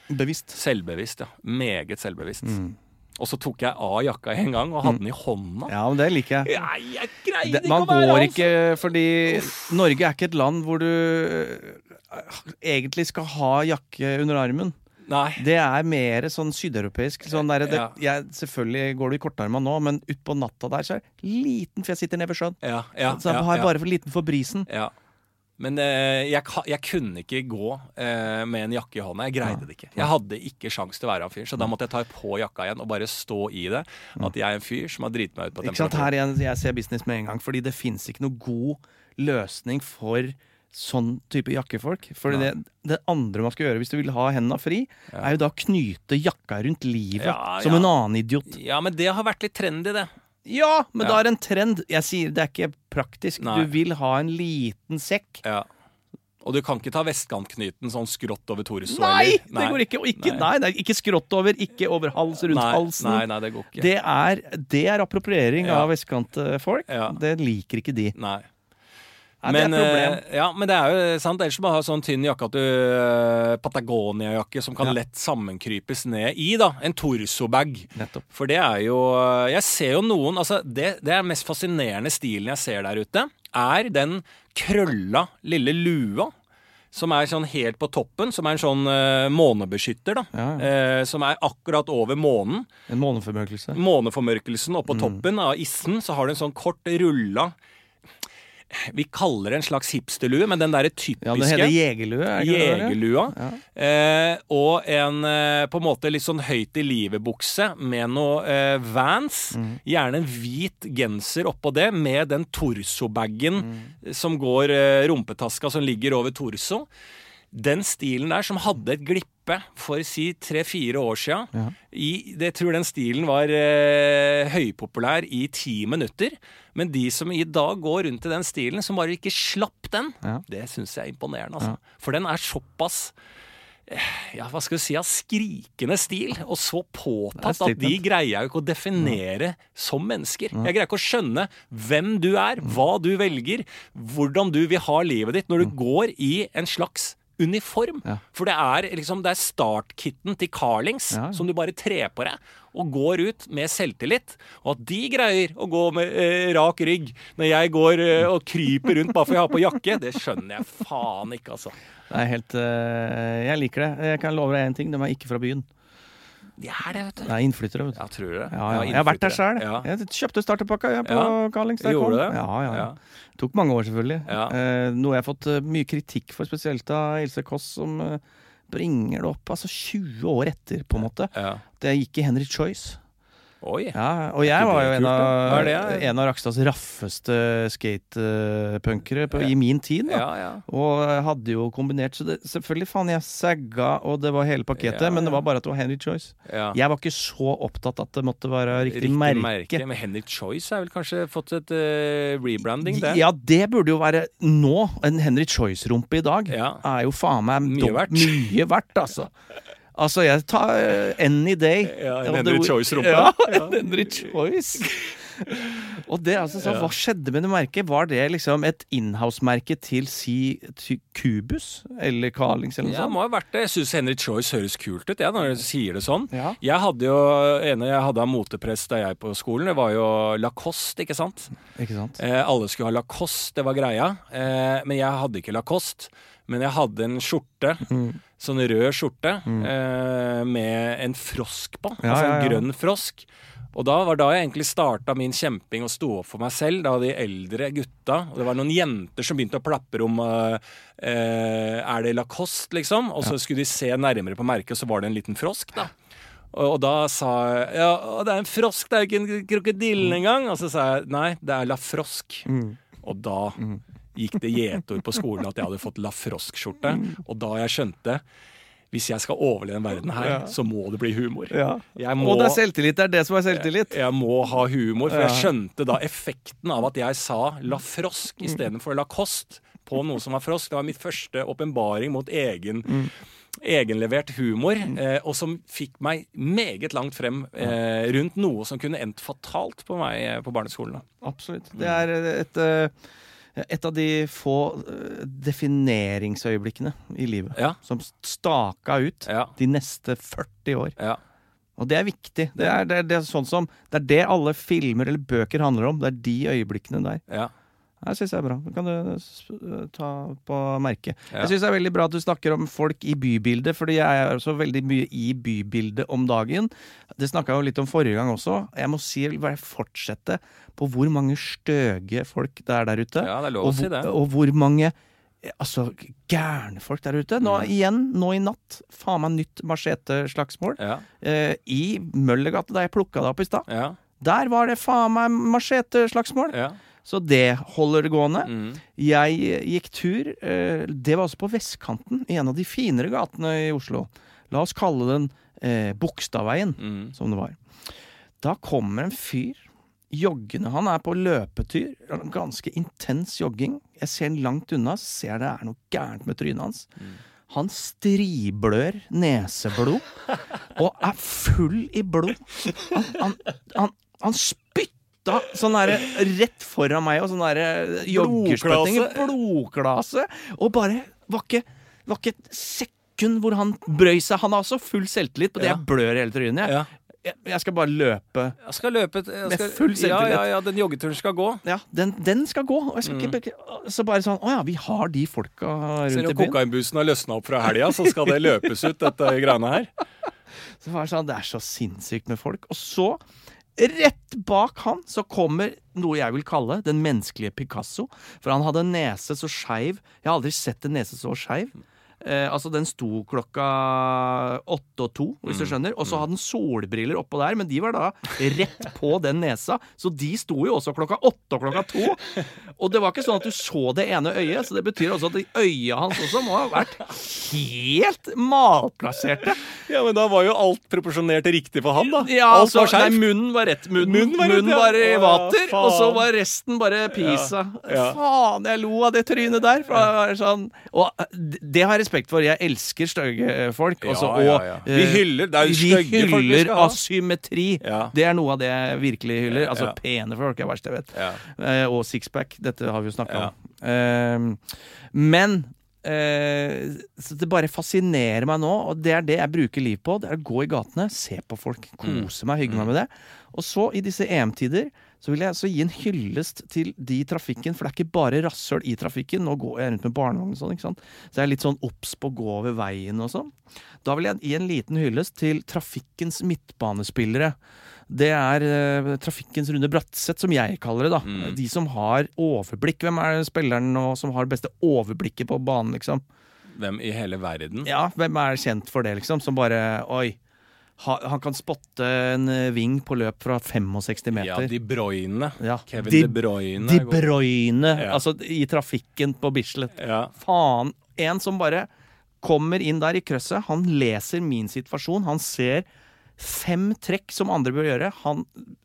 Bevisst.
Selvbevisst, ja. Meget selvbevisst.
Mm.
Og så tok jeg av jakka en gang og hadde den i hånda.
Ja, men det liker jeg.
Nei, jeg greide
Det,
ikke
man
å være
går
altså.
ikke Fordi Norge er ikke et land hvor du øh, egentlig skal ha jakke under armen.
Nei.
Det er mer sånn sydeuropeisk. Sånn der, det,
Ja.
jeg, selvfølgelig går du i kortarma nå, men utpå natta der så er det liten, for jeg sitter nede ved sjøen.
Ja, ja,
Så jeg
ja,
har
ja,
bare for liten for brisen.
ja. Men eh, jeg, ka- jeg kunne ikke gå eh, med en jakke i hånda. Jeg greide det ikke. Jeg hadde ikke sjans til å være han fyren, så da måtte jeg ta på jakka igjen og bare stå i det. At jeg er en fyr som har driti meg ut på
Mm. Ikke sant? Her igjen, jeg ser business med en gang, fordi det fins ikke noe god løsning for sånn type jakkefolk. For det, det andre man skal gjøre hvis du vil ha henda fri, er jo da å knyte jakka rundt livet,
Ja,
som
ja.
en annen idiot.
Ja, men det har vært litt trendy, det.
Ja, men
Ja.
da er det en trend. Jeg sier det er ikke praktisk.
Nei.
Du vil ha en liten sekk.
Ja. Og du kan ikke ta vestkantknyten sånn skrått over torso.
Nei,
eller?
det går ikke. Og ikke,
Nei.
nei. det er ikke skrått over, ikke over hals, rundt
nei,
halsen.
Nei, nei, det går ikke.
Det, er, det er appropriering
Ja.
av vestkantfolk.
Ja.
Det liker ikke de.
Nei.
Nei,
men,
det er et problem.
eh, ja, men det er jo sant. Ellers må du ha sånn tynn jakke at du eh, Patagonia-jakke som kan lett sammenkrypes ned i, da. En torsobag.
Nettopp.
For det er jo eh, Jeg ser jo noen Altså, det, det er den mest fascinerende stilen jeg ser der ute, er den krølla lille lua. Som er sånn helt på toppen, som er en sånn eh, månebeskytter, da.
Ja, ja.
Eh, som er akkurat over månen.
En måneformørkelse.
Måneformørkelsen
Mm.
oppå toppen av issen, så har du en sånn kort rulla Vi kaller det en slags hipsterlue, men den derre typiske
Ja, det heter jegerlue. er det ikke det det heter?
Jegerlua. Eh, og en eh, på en måte litt sånn høyt i livet-bukse med noe eh, Vans.
Mm.
Gjerne en hvit genser oppå det med den torsobagen
Mm.
som går eh, rumpetaska som ligger over torso. Den stilen der som hadde et glippe for si tre-fire år sia i, det- Jeg tror den stilen var eh, høypopulær i ti minutter. Men de som i dag går rundt i den stilen, som bare ikke slapp den,
Ja.
det syns jeg er imponerende. Altså. For den er såpass eh, ja, hva skal du si, av skrikende stil, og så påtatt at de
statement.
greier jeg jo ikke å definere som mennesker. Jeg greier ikke å skjønne hvem du er, hva du velger, hvordan du vil ha livet ditt når du går i en slags uniform.
Ja.
For det er liksom, det er startkitten til Carlings
Ja, ja.
som du bare trer på deg, og går ut med selvtillit. Og at de greier å gå med eh, rak rygg når jeg går eh, og kryper rundt bare for jeg har på jakke, det skjønner jeg faen ikke, altså.
Det er helt eh, Jeg liker det. Jeg kan love deg én ting, de er ikke fra byen.
Det er det, vet du.
Det er innflyttere, vet du.
Ja, tror du det?
Ja, ja. Jeg har vært der sjøl.
Ja.
Jeg kjøpte starterpakka jeg, på
Ja.
Carlings. da jeg
Gjorde du
kom.
det?
Ja, ja, ja.
Ja.
Tok mange år, selvfølgelig.
Ja.
Eh, noe jeg har fått eh, mye kritikk for, spesielt av Else Kåss, som eh, bringer det opp altså 20 år etter, på en måte.
ja.
Det gikk i Henry Choice.
Oi.
Ja, og jeg
ikke
var
det
jo
kult,
en
da? Hva
av,
er det?
en av Rakstads raffeste skatepunkere på- i min tid. Da.
Ja, ja.
Og eh, hadde jo kombinert Så det, selvfølgelig, faen, jeg sagga, og det var hele pakketet.
Ja,
Men det
ja.
var bare at det var Henry Choice.
ja.
Jeg var ikke så opptatt at det måtte være riktig,
Riktig merke.
merke.
Men Henry Choice har vel kanskje fått et eh, rebranding, det?
Ja, det burde jo være nå. En Henry Choice-rumpe i dag
Ja.
er jo faen meg
Mye
dom-
verdt.
Mye verdt, altså. Altså, jeg tar eh, any day.
Ja, en
Og
Henry
det-
Choice-rumpe.
Ja, en Henry Choice. Og det er altså sånn, Hva skjedde med det merket? Var det liksom et inhouse-merke til si til Cubus eller Carlings eller noe
Ja, det
sånt?
må ha vært det. Jeg syns Henry Choice høres kult ut, jeg, når du sier det sånn.
Ja.
Jeg hadde jo, ene jeg hadde av motepress da jeg på skolen, det var jo Lacoste, ikke sant?
Ikke sant?
Eh, alle skulle ha Lacoste, det var greia. Eh, men jeg hadde ikke Lacoste. Men jeg hadde en skjorte, sånn rød skjorte, eh, med en frosk på.
Ja,
altså en
Mm. ja, ja.
grønn frosk. Og da var da jeg egentlig starta min kjemping og sto opp for meg selv. Da de eldre gutta Og det var noen jenter som begynte å plapre om eh, eh, Er det Lacoste, liksom? Og så skulle de se nærmere på merket, og så var det en liten frosk, da. Og, og da sa jeg Ja, å, det er en frosk, det er jo ikke en krokodille
Mm.
engang. Og så sa jeg nei, det er La Frosk. Og da gikk det gjetord på skolen at jeg hadde fått La Frosk-skjorte. Og da jeg skjønte hvis jeg skal overleve den verden her,
Ja.
så må det bli humor.
Ja.
Jeg
Og det er selvtillit. Det er det som er selvtillit.
jeg må ha humor, for
Ja.
jeg skjønte da effekten av at jeg sa la frosk istedenfor la kost på noe som var frosk. Det var mitt første åpenbaring mot egen egenlevert humor, eh, og som fikk meg meget langt frem eh, rundt noe som kunne endt fatalt på meg eh, på barneskolen. da.
Absolutt. Det er et, eh, et av de få eh, defineringsøyeblikkene i livet
Ja.
som staka ut
Ja,
de neste 40 år.
ja,
Og det er viktig. Det er, det, er, det, er sånn som, det er det alle filmer eller bøker handler om. Det er de øyeblikkene der.
ja.
Det syns jeg er bra. Det kan du eh, s- ta på merket.
Ja.
Jeg syns det er veldig bra at du snakker om folk i bybildet, fordi jeg er også veldig mye i bybildet om dagen. Det snakka jeg jo litt om forrige gang også. Jeg må si, jeg vil bare fortsette på hvor mange støge folk det er der ute.
ja, det er lov å
og,
si
hvor-
det.
og hvor mange eh, altså, gærne folk der ute. Nå
Mm.
igjen, nå i natt, faen meg nytt machete-slagsmål.
Ja,
Eh, I Møllergata, der jeg plukka det opp i stad.
ja,
Der var det faen meg machete-slagsmål.
ja.
Så det holder det gående.
Mm.
Jeg eh, gikk tur. eh, Det var altså på vestkanten, i en av de finere gatene i Oslo. La oss kalle den eh, Bogstadveien,
Mm.
som det var. Da kommer en fyr joggende. Han er på løpetur. Han har Ganske intens jogging. Jeg ser han langt unna, så ser jeg det er noe gærent med trynet hans.
Mm.
Han striblør neseblod og er full i blod. Han, han, han, han spytta sånn derre rett foran meg og sånn derre joggerspytting. Blodklase. Og bare var ikke, var ikke et sekund hvor han brøy seg. Han har også full selvtillit på det.
Ja.
Jeg blør i hele trynet. Jeg
ja.
jeg, jeg skal bare løpe.
Jeg skal løpe et- jeg
Med
skal,
full
Ja,
selvtillit.
ja, ja, den joggeturen skal gå.
Ja, den, den skal gå. Og jeg skal ikke beklage. Så bare sånn Å ja, vi har de folka
Selv om
rundt i byen.
kokainbusen har løsna opp fra helga, så skal det løpes ut, dette greiene her.
Så var det, sånn, det er så sinnssykt med folk. Og så, rett bak han, så kommer noe jeg vil kalle den menneskelige Picasso. For han hadde en nese så skeiv. Jeg har aldri sett en nese så skeiv. Eh, altså, den sto klokka åtte og to, hvis du skjønner. Og så hadde han solbriller oppå der, men de var da rett på den nesa. Så de sto jo også klokka åtte og klokka to. Og det var ikke sånn at du så det ene øyet, så det betyr også at de øya hans også må ha vært helt malplasserte.
Ja, men da var jo alt proporsjonert riktig for han, da.
Ja,
alt
altså,
var skjevt.
nei, munnen var rett. Munnen, munnen
Munnen
var,
var rett, ja.
i
Å, ja,
vater, og så
faen.
var resten bare pisa.
ja.
Faen, jeg lo av det trynet der. For det var sånn. Og eh, det har jeg respekt for. Jeg elsker stygge eh, folk.
Ja,
også,
ja,
og,
ja.
eh,
Vi hyller- det er jo stygge
Vi
folk vi
hyller
skal ha.
asymmetri.
Ja.
Det er noe av det jeg virkelig hyller. Altså
Ja.
pene folk er verst jeg vet.
Ja.
Eh, og sixpack. Dette har vi jo snakka
Ja.
om. Eh, men eh, så det bare fascinerer meg nå, og det er det jeg bruker liv på. Det er å gå i gatene, se på folk,
Mm.
kose meg, hygge meg med det. Og så, i disse EM-tider, så vil jeg altså gi en hyllest til de i trafikken, for det er ikke bare rasshøl i trafikken. Nå går jeg rundt med barnevogn og sånn, ikke sant. Så jeg er litt sånn obs på å gå over veien og sånn. Da vil jeg gi en liten hyllest til trafikkens midtbanespillere. Det er eh, trafikkens Rune Bratseth, som jeg kaller det. da
Mm.
De som har overblikk. Hvem er spilleren nå som har det beste overblikket på banen, liksom?
Hvem i hele verden?
Ja, hvem er kjent for det, liksom? Som bare Oi. ha- Han kan spotte en eh, ving på løp fra 65
Ja,
meter.
De Bruyne.
Ja,
Kevin
De-
De, Bruyne.
De
er god.
Bruyne!
Ja.
Altså, i trafikken på Bislett.
ja.
Faen. En som bare kommer inn der i krøsset. Han leser min situasjon. Han ser fem trekk som andre bør gjøre. Han,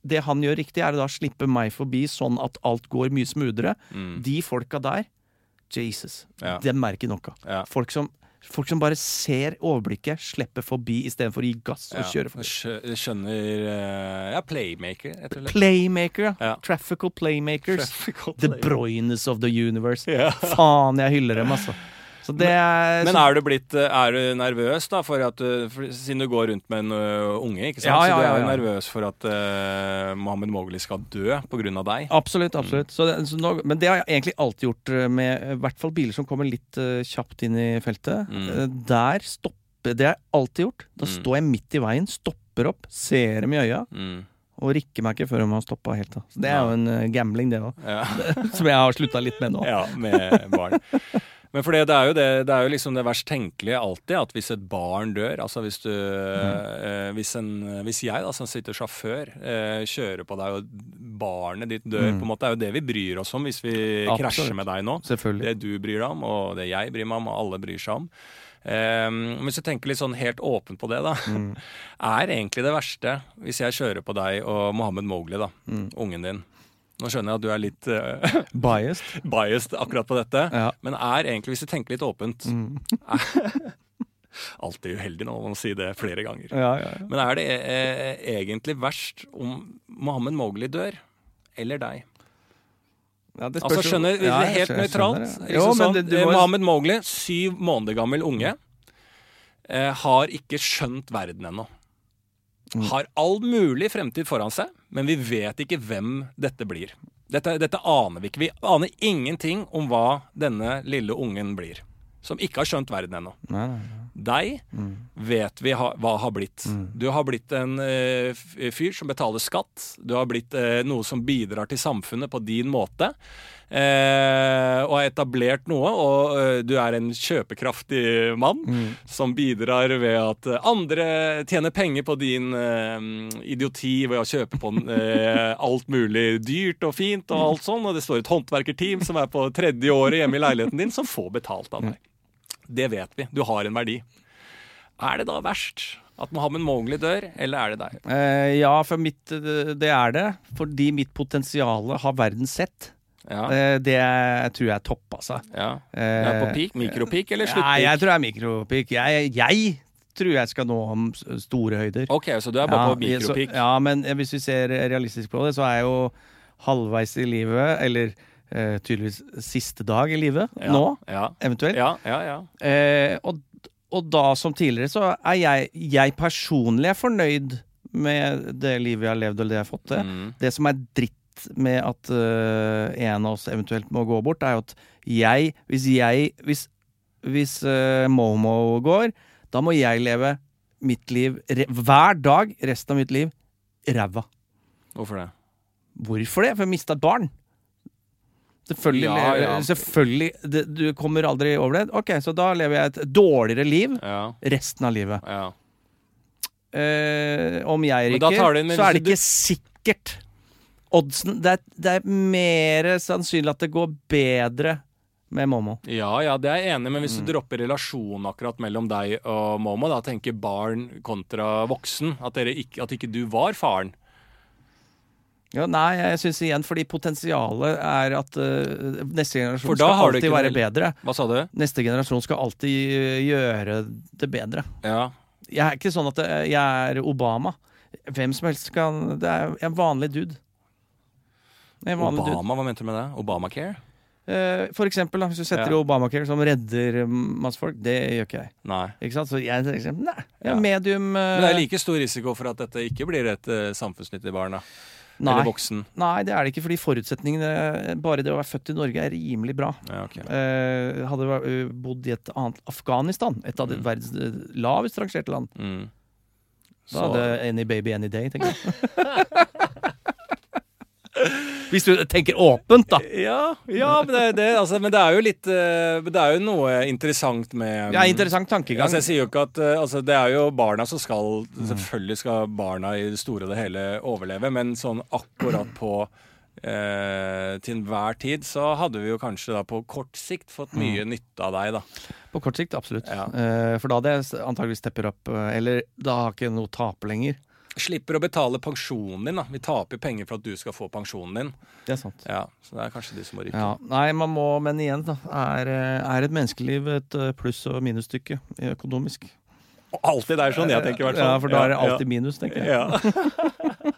det han gjør riktig, er å da slippe meg forbi sånn at alt går mye smoothere. De folka der, Jesus,
Mm. Ja.
dem merker noe.
Ja.
Folk, som, folk som bare ser overblikket, slipper forbi istedenfor å gi gass og
Ja.
kjøre forbi.
Skjø- Skjønner eh, Ja, playmaker, rett og slett.
Playmaker, ja.
Ja.
Traffical playmakers.
Traffical
The
player.
Broynes of the universe.
Ja.
Faen, jeg hyller dem, altså. Så det er,
Men er du blitt eh, Er du nervøs, da, for at du, for, siden du går rundt med en ø, unge, ikke sant?
Ja,
Så
ja,
du er
ja,
jo
ja.
nervøs for at eh, Mohammed Mowgli skal dø på grunn av deg?
Absolutt. absolutt så det, så nå, Men det har jeg egentlig alltid gjort eh, med eh, i hvert fall biler som kommer litt eh, kjapt inn i feltet.
Mm.
Eh, der stopper Det har jeg alltid gjort. Da
Mm.
står jeg midt i veien, stopper opp, ser dem i øya
Mm.
og Og rikker meg ikke før de har stoppa helt. Da. Så det er jo en eh, gambling, det òg.
Ja.
Som jeg har slutta litt med nå.
Ja, med barn. Men for det, det, er jo det, det er jo liksom det verst tenkelige alltid, at hvis et barn dør Altså hvis du
Mm.
eh, hvis, en, hvis jeg, da, som sitter sjåfør, eh, kjører på deg, og barnet ditt dør, på en måte, er jo det vi bryr oss om hvis vi
Mm. Absolutt.
krasjer med deg nå.
Selvfølgelig.
Det du bryr deg om, og det jeg bryr meg om, og alle bryr seg om. Ehm, men hvis du tenker litt sånn helt åpent på det, da.
Mm.
Er egentlig det verste hvis jeg kjører på deg og Mohammed Mowgli, da,
Mm.
ungen din. Nå skjønner jeg at du er litt eh,
Biased.
biased akkurat på dette,
Ja. Mm.
men er egentlig, hvis du tenker litt åpent er- Alltid uheldig nå, man må si det flere ganger.
Ja, ja, ja.
Men er det eh, egentlig verst om Mohammed Mowgli dør? Eller deg?
Ja, det
Altså
spørs jo-
skjønner,
Ja, jeg
Helt
skjø- jeg
nøytralt.
skjønner det.
Liksom
Jo, men
sånn,
det, du
eh,
må
Mohammed Mowgli, syv måneder gammel unge, eh, har ikke skjønt verden ennå.
Mm.
Har all mulig fremtid foran seg, men vi vet ikke hvem dette blir. Dette, dette aner vi ikke. Vi aner ingenting om hva denne lille ungen blir. Som ikke har skjønt verden ennå.
Nei, nei, nei.
Deg vet vi ha, hva har blitt. Du har blitt en eh, f- fyr som betaler skatt. Du har blitt eh, noe som bidrar til samfunnet på din måte. eh, og har etablert noe, og eh, du er en kjøpekraftig mann som bidrar ved at eh, andre tjener penger på din eh, idioti ved å kjøpe på eh, alt mulig dyrt og fint og alt sånn, og det står et håndverkerteam som er på tredje året hjemme i leiligheten din, som får betalt av deg. Det vet vi. Du har en verdi. Er det da verst at Mohammed Mowgli dør, eller er det deg?
Eh, ja, for mitt eh, Det er det. Fordi mitt potensial har verden sett.
Ja,
Eh, det er- jeg tror jeg toppa seg.
ja.
Eh,
Er det på peak, mikropeak eller
Nei, jeg
sluttpeak?
tror jeg er mikropikk. Jeg, jeg tror jeg skal nå om s- store høyder.
Ok, så du er bare på
Ja, så-
mikropeak.
Ja, men eh, hvis vi ser realistisk på det, så er jeg jo halvveis i livet, eller eh, tydeligvis siste dag i livet
Ja,
nå,
Ja,
eventuelt.
ja, ja. ja.
Eh, og, og da som tidligere, så er jeg, jeg personlig er fornøyd med det livet jeg har levd, eller det jeg har fått til.
Mm.
Det som er dritt med at øh, en av oss eventuelt må gå bort, er jo at jeg Hvis jeg Hvis, hvis øh, Momo går, da må jeg leve mitt liv re hver dag resten av mitt liv ræva.
Hvorfor det?
Hvorfor det? For jeg mista et barn. Selvfølgelig.
Ja, ja.
selvfølgelig det, du kommer aldri over det. Ok, så da lever jeg et dårligere liv
Ja,
resten av livet.
ja.
Eh, om jeg
Men da
ryker,
tar du inn-
så er det
du-
ikke sikkert. Oddsen Det er, det er mer sannsynlig at det går bedre med Momo.
Ja, ja, det er jeg enig i, men hvis
Mm.
du dropper relasjonen akkurat mellom deg og Momo, da tenker barn kontra voksen, at, dere ikke, at ikke du var faren.
Ja, nei, jeg syns igjen fordi potensialet er at eh, neste
For da
generasjon skal
har du
alltid
ikke
være
noe-
bedre.
Hva sa du?
Neste generasjon skal alltid eh, gjøre det bedre.
Ja,
Jeg er ikke sånn at eh, jeg er Obama. Hvem som helst kan Det er jeg er en vanlig dude. Jeg er En vanlig dude.
Obama, hva mente du med det? Obamacare?
Eh, For eksempel, da, hvis du setter
Ja.
Obamacare som redder eh, masse folk, det gjør ikke jeg.
Nei.
Ikke sant? Så jeg tenker sånn, nei, jeg
Ja.
er medium eh,
Men det er like stor risiko for at dette ikke blir et eh, samfunnsnyttig barn, da. Eller
nei,
voksen.
nei, det er det ikke, fordi forutsetningene Bare det å være født i Norge er rimelig bra.
Ja, ok.
Eh, hadde jeg vært- eh, bodd i et annet Afghanistan, et av de verdens eh, lavest rangerte land,
Mm.
da
Så-
hadde any baby any day, tenker jeg. Hvis du tenker åpent, da.
ja, ja men, det, det, altså, men det er jo litt eh, Det er jo noe interessant med
Det er en interessant tankegang.
Altså, jeg sier jo ikke at eh, altså, Det er jo barna som skal
Mm.
Selvfølgelig skal barna i det store og det hele overleve, men sånn akkurat på eh, til enhver tid så hadde vi jo kanskje da på kort sikt fått mye
Mm.
nytte av deg, da.
På kort sikt, absolutt.
Ja.
Eh, for da hadde jeg s- antageligvis stepper opp, eh, eller da har jeg ikke noe å tape lenger.
Slipper å betale pensjonen din, da. Vi taper jo penger for at du skal få pensjonen din.
Det er sant.
Ja, Så det er kanskje de som må ryke.
Ja, nei, man må, men igjen da Er, eh, er et menneskeliv et eh, pluss- og minusstykke eh, økonomisk?
Alltid det er sånn jeg tenker, i hvert fall.
Ja, for da er det alltid minus, tenker jeg.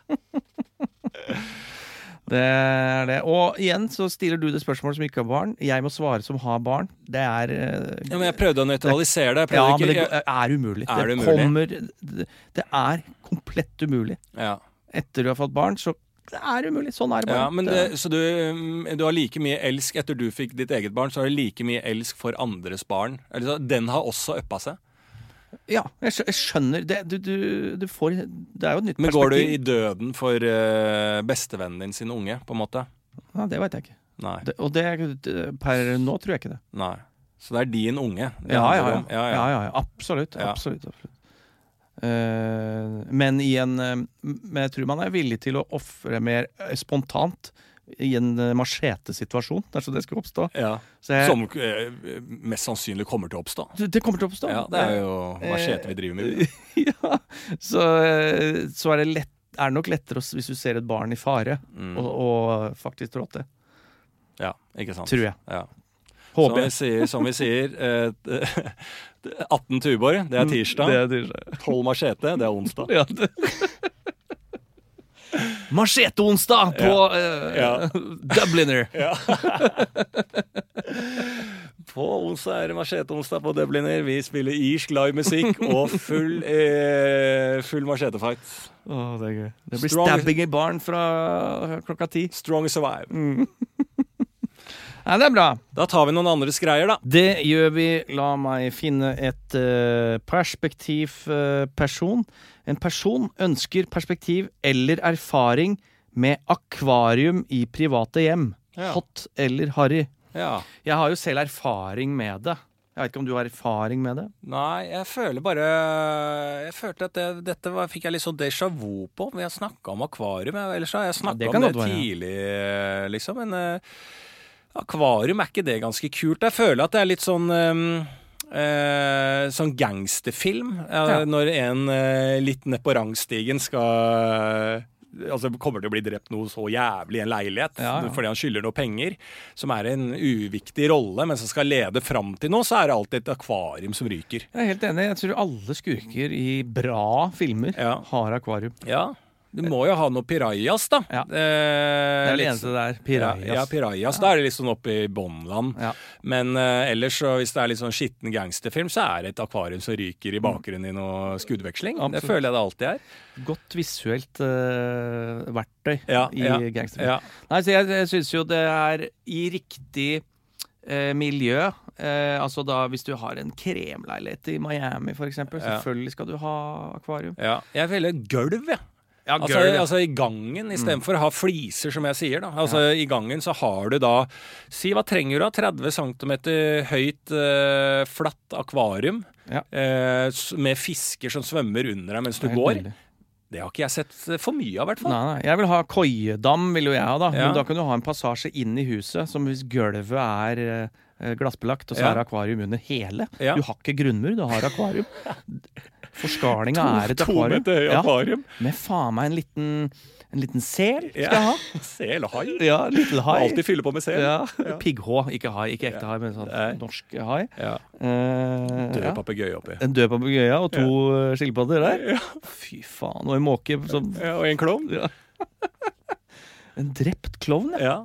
ja.
Det er det. Og igjen så stiller du det spørsmålet som ikke har barn. Jeg må svare som har barn. Det er eh,
ja, men jeg prøvde å nøytralisere det. Jeg
ja,
prøvde
men det
ikke,
går- er umulig.
Er det
det
umulig?
kommer det, det er komplett umulig.
ja.
Etter du har fått barn, så det er umulig. Sånn er det bare.
Ja, men det, så du, mm, du har like mye elsk etter du fikk ditt eget barn, så har du like mye elsk for andres barn. Eller så, den har også uppa seg.
Ja, jeg skjø- jeg skjønner det. Du, du, du får Det er jo et nytt
Men går du i
perspektiv.
døden for eh, bestevennen din sin unge, på en måte?
Ja, det veit jeg ikke.
Nei.
Det, og det, det- per nå tror jeg ikke det.
Nei. Så det er din unge? det
Ja, ja,
handler
ja.
om.
ja, ja, ja. Absolutt.
Ja.
absolutt, absolutt. Eh, men i en eh, Men jeg tror man er villig til å ofre mer eh, spontant i en eh, machetesituasjon, dersom det skulle oppstå.
Ja.
Så jeg,
Som eh, mest sannsynlig kommer til å oppstå.
det det kommer til å oppstå.
Ja, det er jo machete vi driver med.
eh, ja. Så, eh, så er det lett, er det nok lettere å s- hvis du ser et barn i fare,
Mm.
og, og faktisk trå til.
Ja, ikke sant.
Tror jeg.
Ja. Som
Håper
vi
jeg.
sier, som vi sier eh, 18 Tuborg, det er tirsdag.
Mm, Det er tirsdag.
12 machete, det er onsdag.
Ja, det. Machete-onsdag på eh,
Ja.
Dubliner.
På onsdag er det machete-onsdag på Dubliner. Vi spiller irsk livemusikk og full, eh, full machete-fight.
Åh, det er gøy. Det blir
Strong-
stabbing i barn fra eh, klokka ti.
Strong survive.
Nei, det er bra.
Da tar vi noen andres greier, da.
Det gjør vi. La meg finne et eh, perspektiv eh, person. En person ønsker perspektiv eller erfaring med akvarium i private hjem.
Ja.
Hot eller harry.
Ja.
Jeg har jo selv erfaring med det. Jeg vet ikke om du har erfaring med det?
Nei, jeg føler bare Jeg følte at det, dette var, fikk jeg litt sånn déjà vu på. Vi har snakka om akvarium, jeg- ellers har jeg snakka
det kan
om det
godt være, ja.
tidlig, eh, liksom. Men eh, akvarium, er ikke det ganske kult? Jeg føler at det er litt sånn eh, eh, sånn gangsterfilm, eh,
Ja.
når en eh, litt ned på rangstigen skal Altså kommer til å bli drept noe så jævlig i en leilighet
Ja, ja.
fordi han skylder noe penger, som er en uviktig rolle, men som skal lede fram til noe, så er det alltid et akvarium som ryker.
Jeg er helt enig. Jeg tror alle skurker i bra filmer
Ja.
har akvarium.
Ja. Du må jo ha noe pirajas, da.
Ja.
Eh,
Det er det
litt-
eneste der.
Ja, ja,
Pirajas.
pirajas. Da er det litt sånn oppe i båndland.
Ja.
Men eh, ellers, så hvis det er litt sånn skitten gangsterfilm, så er det et akvarium som ryker i bakgrunnen i noe skuddveksling. Det
Absolutt.
føler jeg det alltid er.
Godt visuelt eh, verktøy
Ja,
i
ja,
gangsterfilm.
Ja.
Nei, så jeg, jeg syns jo det er i riktig eh, miljø. Eh, altså da hvis du har en kremleilighet i Miami, for eksempel.
Ja.
Selvfølgelig skal du ha akvarium.
Ja. Jeg velger gulv, Mm. jeg.
Ja,
Altså, altså i gangen, istedenfor å ha fliser, som jeg sier. da Altså I gangen så har du da Si hva trenger du da? 30 cm høyt, eh, flatt akvarium
Ja.
eh, s- med fisker som svømmer under deg mens du
Helt
går.
nydelig.
Det har ikke jeg sett eh, for mye av, i hvert
Nei,
fall.
nei. Jeg vil ha koiedam, vil jo jeg ha, da.
Ja.
Men da kan du ha en passasje inn i huset, som hvis gulvet er eh, glassbelagt, og så
Ja.
er det akvarium under hele.
Ja.
Du har ikke grunnmur, du har akvarium. Forskalinga er et
To
akvarium.
meter høy
Ja,
akvarium.
med faen meg en liten, en liten sel skal
Ja.
jeg ha.
Sel og hai.
Ja, en liten hai.
Alltid fylle på med sel.
Ja. Pigghå. Ikke hai, ikke ekte hai, men sånn
Nei.
norsk hai.
Ja.
Eh,
Død
ja.
papegøye oppi.
En død papegøye og to eh, skilpadder der. Fy faen. Og en måke som
Ja, og en klovn.
ja. En drept klovn, ja.
Ja.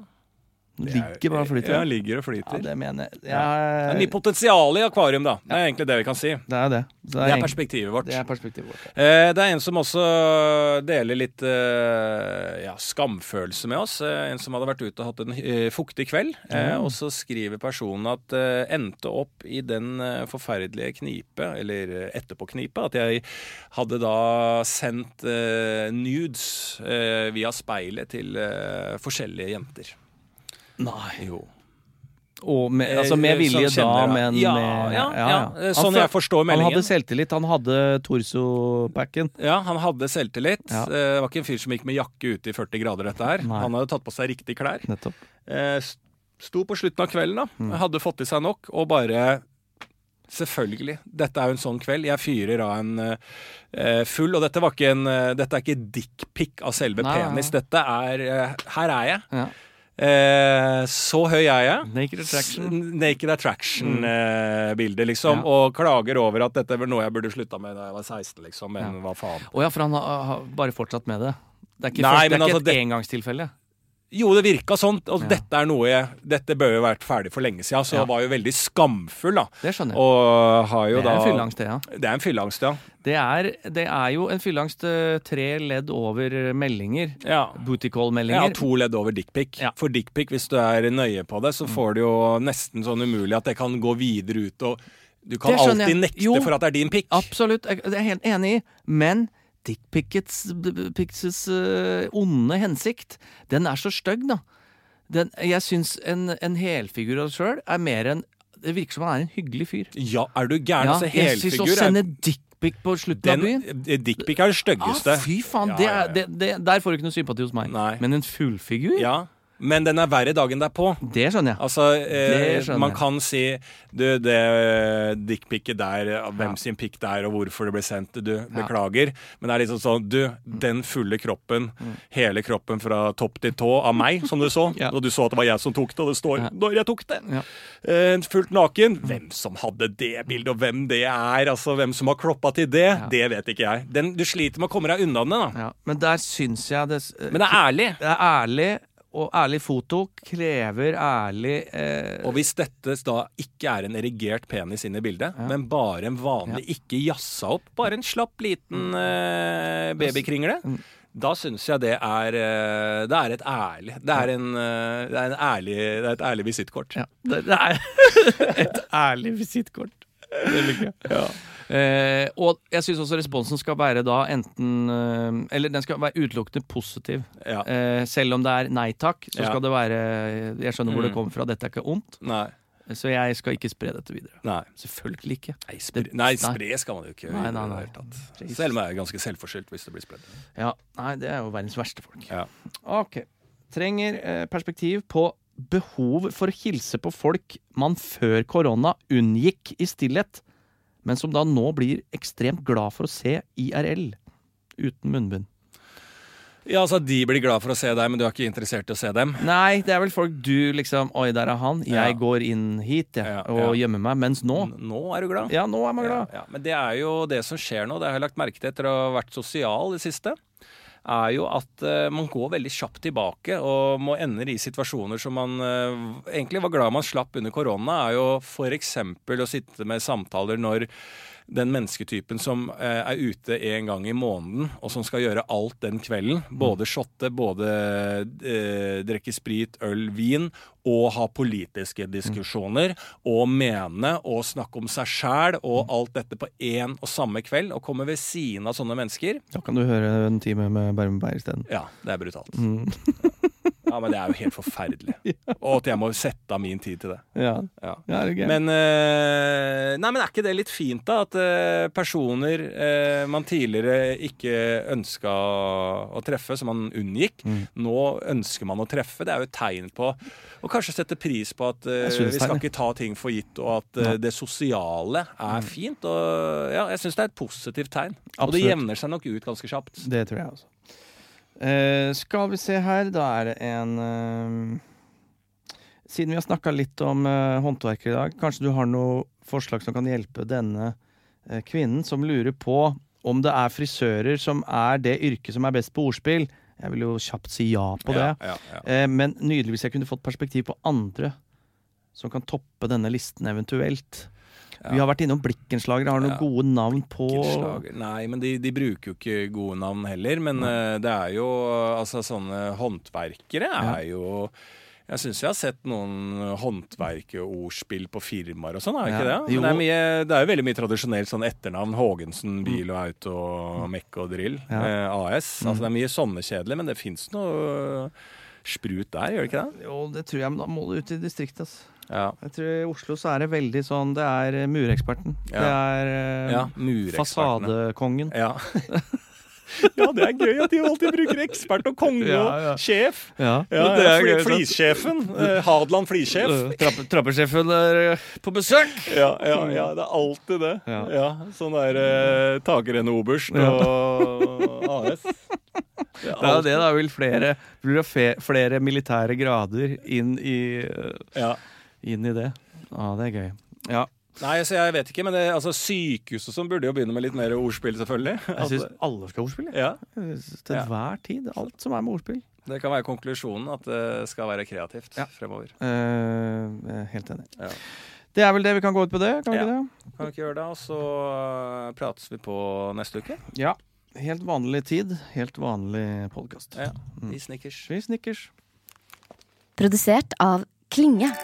Den Ligger bare og
Ja,
flyter.
ligger og
Ja,
flyter.
det mener jeg.
Det er
jeg
mye potensial i akvarium, da. Det er egentlig det vi kan si.
det er det. Så
Det er
egentlig-
perspektivet vårt.
det er perspektivet vårt.
Eh, Det er en som også deler litt eh, ja, skamfølelse med oss. Eh, En som hadde vært ute og hatt en eh, fuktig kveld. Eh,
Mm.
Og så skriver personen at eh, endte opp i den eh, forferdelige knipe, eller eh, etterpåknipe, at jeg hadde da sendt eh, nudes eh, via speilet til eh, forskjellige jenter.
Nei.
Jo.
Og med, altså med
Eh,
vilje
sånn kjenner
da,
jeg.
men
Ja,
med-
ja, ja. Eh,
Han
Sånn
føl-
jeg forstår meldingen.
Han hadde selvtillit. Han hadde torsopacken.
Ja, han hadde selvtillit.
Ja.
Eh, Det var ikke en fyr som gikk med jakke ute i 40 grader, dette her.
Nei.
Han hadde tatt på seg riktige klær.
Nettopp.
Eh, s- Sto på slutten av kvelden, da.
Mm.
Hadde fått i seg nok, og bare Selvfølgelig. Dette er jo en sånn kveld. Jeg fyrer av en eh, full, og dette, var ikke en, eh, dette er ikke dickpic av selve
Nei, nei, nei.
penis. Dette er eh, Her er jeg.
Ja.
Eh, så høy er jeg.
Naked attraction. Mm.
S- Naked attraction-bildet, liksom. Og klager over at dette er vel noe jeg burde slutta med da jeg var 16, liksom. Men hva faen.
Å ja, for han har, har bare fortsatt med det. Det er ikke,
Nei,
først, det
men
er ikke
altså,
et
det-
engangstilfelle.
Jo, det virka sånn. Og
Ja.
dette er noe jeg Dette bør jo vært ferdig for lenge siden, så
Ja.
jeg var jo veldig skamfull, da.
Det skjønner jeg.
Og har jo
det er en
da
fylleangst, det, ja.
Det er en fylleangst, ja.
Det er, det er jo en fylleangst eh, tre ledd over eh, meldinger.
ja.
Booty
Jeg har
call-meldinger.
to ledd over dickpic.
Ja. Mm.
For dickpic, hvis du er nøye på det, så får du jo nesten sånn umulig at det kan gå videre ut og Du kan
Det skjønner
alltid
jeg.
nekte
Jo.
for at det er din pikk.
Absolutt, jeg jeg er helt enig i. Men dickpics' eh, onde hensikt, den er så stygg, da. Den, jeg syns en, en helfigur av seg sjøl er mer enn Det virker som han er en hyggelig fyr.
Ja, er du gæren? altså,
jeg syns å
helfigur er
sende dickpic på slutten av byen
den, Dickpic er det styggeste.
ah, Fy faen,
Ja,
det
ja,
er,
ja.
det, det, der får du ikke noe sympati hos meg.
Nei.
Men en fuglfigur,
Ja. Men den er verre dagen derpå.
det skjønner jeg.
Altså,
Det
eh,
skjønner
man
jeg.
kan si Du, det dickpicet der, eh, hvem
Ja.
sin pikk det er, og hvorfor det ble sendt, du, beklager. Men det er liksom sånn Du, den fulle kroppen, hele kroppen fra topp til tå av meg, som du så.
Mm. Ja.
Og du så at det var jeg som tok det, og det står
Ja.
'når jeg tok det'.
Ja. Mm.
Eh, fullt naken. Hvem som hadde det bildet, og hvem det er, altså hvem som har kloppa til det, det vet ikke jeg. Den, du sliter med å komme deg unna den, da.
Ja, men der syns jeg det
Men det er ærlig.
det er ærlig, og ærlig foto krever ærlig eh,
Og hvis dette da ikke er en erigert penis inne i bildet, men bare en vanlig, ikke jassa opp, bare en slapp
Mm.
liten eh, babykringle, da syns jeg det er eh, Det er et ærlig Det er, en, eh, det er, en ærlig, det er et ærlig visittkort.
Ja, det, det er et ærlig visittkort. Det liker jeg. Eh, og jeg syns også responsen skal være da enten eh, Eller den skal være utelukkende positiv.
Ja.
Eh, selv om det er nei takk, så
Ja. Mm.
skal det være Jeg skjønner hvor det kommer fra, dette er ikke ondt.
Nei.
Så jeg skal ikke spre dette videre.
Nei.
Selvfølgelig ikke.
Nei,
Det-
spre, nei, spre skal man jo ikke
Nei,
gjøre i
nei,
det
nei.
hele tatt. Selv om jeg er ganske selvforskyldt hvis det blir spredd.
Ja, nei, det er jo verdens verste folk.
Ja.
Ok. Trenger eh, perspektiv på behov for å hilse på folk man før korona unngikk i stillhet, men som da nå blir ekstremt glad for å se IRL uten munnbind.
ja, altså de blir glad for å se deg, men du er ikke interessert i å se dem.
Nei, det er vel folk du liksom Oi, der er han. Jeg
Ja.
går inn hit jeg,
Ja,
og
ja.
gjemmer meg. Mens nå
Nå er du glad.
Ja, nå er man glad.
Ja, ja. Men det er jo det som skjer nå, det har jeg lagt merke til etter å ha vært sosial det siste, er jo at eh, man går veldig kjapt tilbake og må ender i situasjoner som man eh, egentlig var glad man slapp under korona, er jo f.eks. å sitte med samtaler når den mennesketypen som eh, er ute en gang i måneden, og som skal gjøre alt den kvelden, både shotte, både eh, drikke sprit, øl, vin, og ha politiske diskusjoner, og mene og snakke om seg sjæl, og alt dette på én og samme kveld, og komme ved siden av sånne mennesker,
Da kan du høre en time med Bærum Beyer isteden.
ja, det er brutalt. ja, men det er jo helt forferdelig. Og at jeg må sette av min tid til det.
Ja.
Ja.
ja, er det gøy?
Men, eh, nei, men er ikke det litt fint, da? At eh, personer eh, man tidligere ikke ønska å treffe, som man unngikk,
Mm.
nå ønsker man å treffe. Det er jo et tegn på Og kanskje sette pris på at eh,
Jeg synes
vi
det er
skal
det.
ikke ta ting for gitt, og at eh, det sosiale
Mm.
er fint. Og ja, jeg syns det er et positivt tegn. Og det
Absolutt.
jevner seg nok ut ganske kjapt.
Det tror jeg også. Eh, skal vi se her, da er det en eh, Siden vi har snakka litt om eh, håndverkere i dag, kanskje du har noe forslag som kan hjelpe denne eh, kvinnen som lurer på om det er frisører som er det yrket som er best på ordspill? Jeg vil jo kjapt si ja på det.
Ja, ja, ja.
Eh, men nydelig hvis jeg kunne fått perspektiv på andre som kan toppe denne listen eventuelt.
Ja.
Vi har vært innom blikkenslagere. Har du noen
Ja.
gode navn på
Blikkenslager. Nei, men de, de bruker jo ikke gode navn heller. Men eh, det er jo Altså, sånne håndverkere er jo jeg syns jeg har sett noen håndverkerordspill på firmaer og sånn, er det ikke det?
Ja.
Men det,
Jo. Mm.
er mye, det er jo veldig mye tradisjonelt sånn etternavn. Haagensen, Bil og Auto, Mekke og Drill
Ja. Mm.
eh, AS. Altså det er mye sånne kjedelige, men det fins noe sprut der, gjør det ikke det?
Jo, det tror jeg, men da må du ut i distriktet, altså.
Ja.
Jeg tror I Oslo så er det veldig sånn Det er eh, mureksperten.
Ja.
Det er eh,
ja Murekspertene.
fasadekongen.
Ja. ja, det er gøy at de alltid bruker ekspert og konge
Ja, ja.
og sjef.
Ja,
Ja, fli- Flissjefen. Eh, Hadeland flisjef.
Øh, trappesjefen er eh, på besøk!
Ja, ja, ja, det er alltid det.
Ja.
Ja. sånn der eh, takrenne oberst
Ja.
og AS. Det
Det er jo det, da vil flere, blir det fe- flere militære grader inn i, eh,
Ja.
inn i det. Ja, det er gøy. Ja,
Nei, så jeg vet ikke, men det, altså, sykehuset som burde jo begynne med litt mer ordspill, selvfølgelig.
jeg syns
Altså,
alle skal ordspille.
ja,
Til
Ja.
hver tid. Alt som er med ordspill.
Det kan være konklusjonen, at det skal være kreativt
Ja.
fremover.
Eh, jeg er helt enig.
Ja.
Det er vel det vi kan gå ut på det? Kan vi
Ja.
ikke det?
Kan vi ikke gjøre det, og så eh, prates vi på neste uke.
Ja. Helt vanlig tid, helt vanlig podkast.
Ja, I snickers.
Vi snickers.
Produsert av Klinge.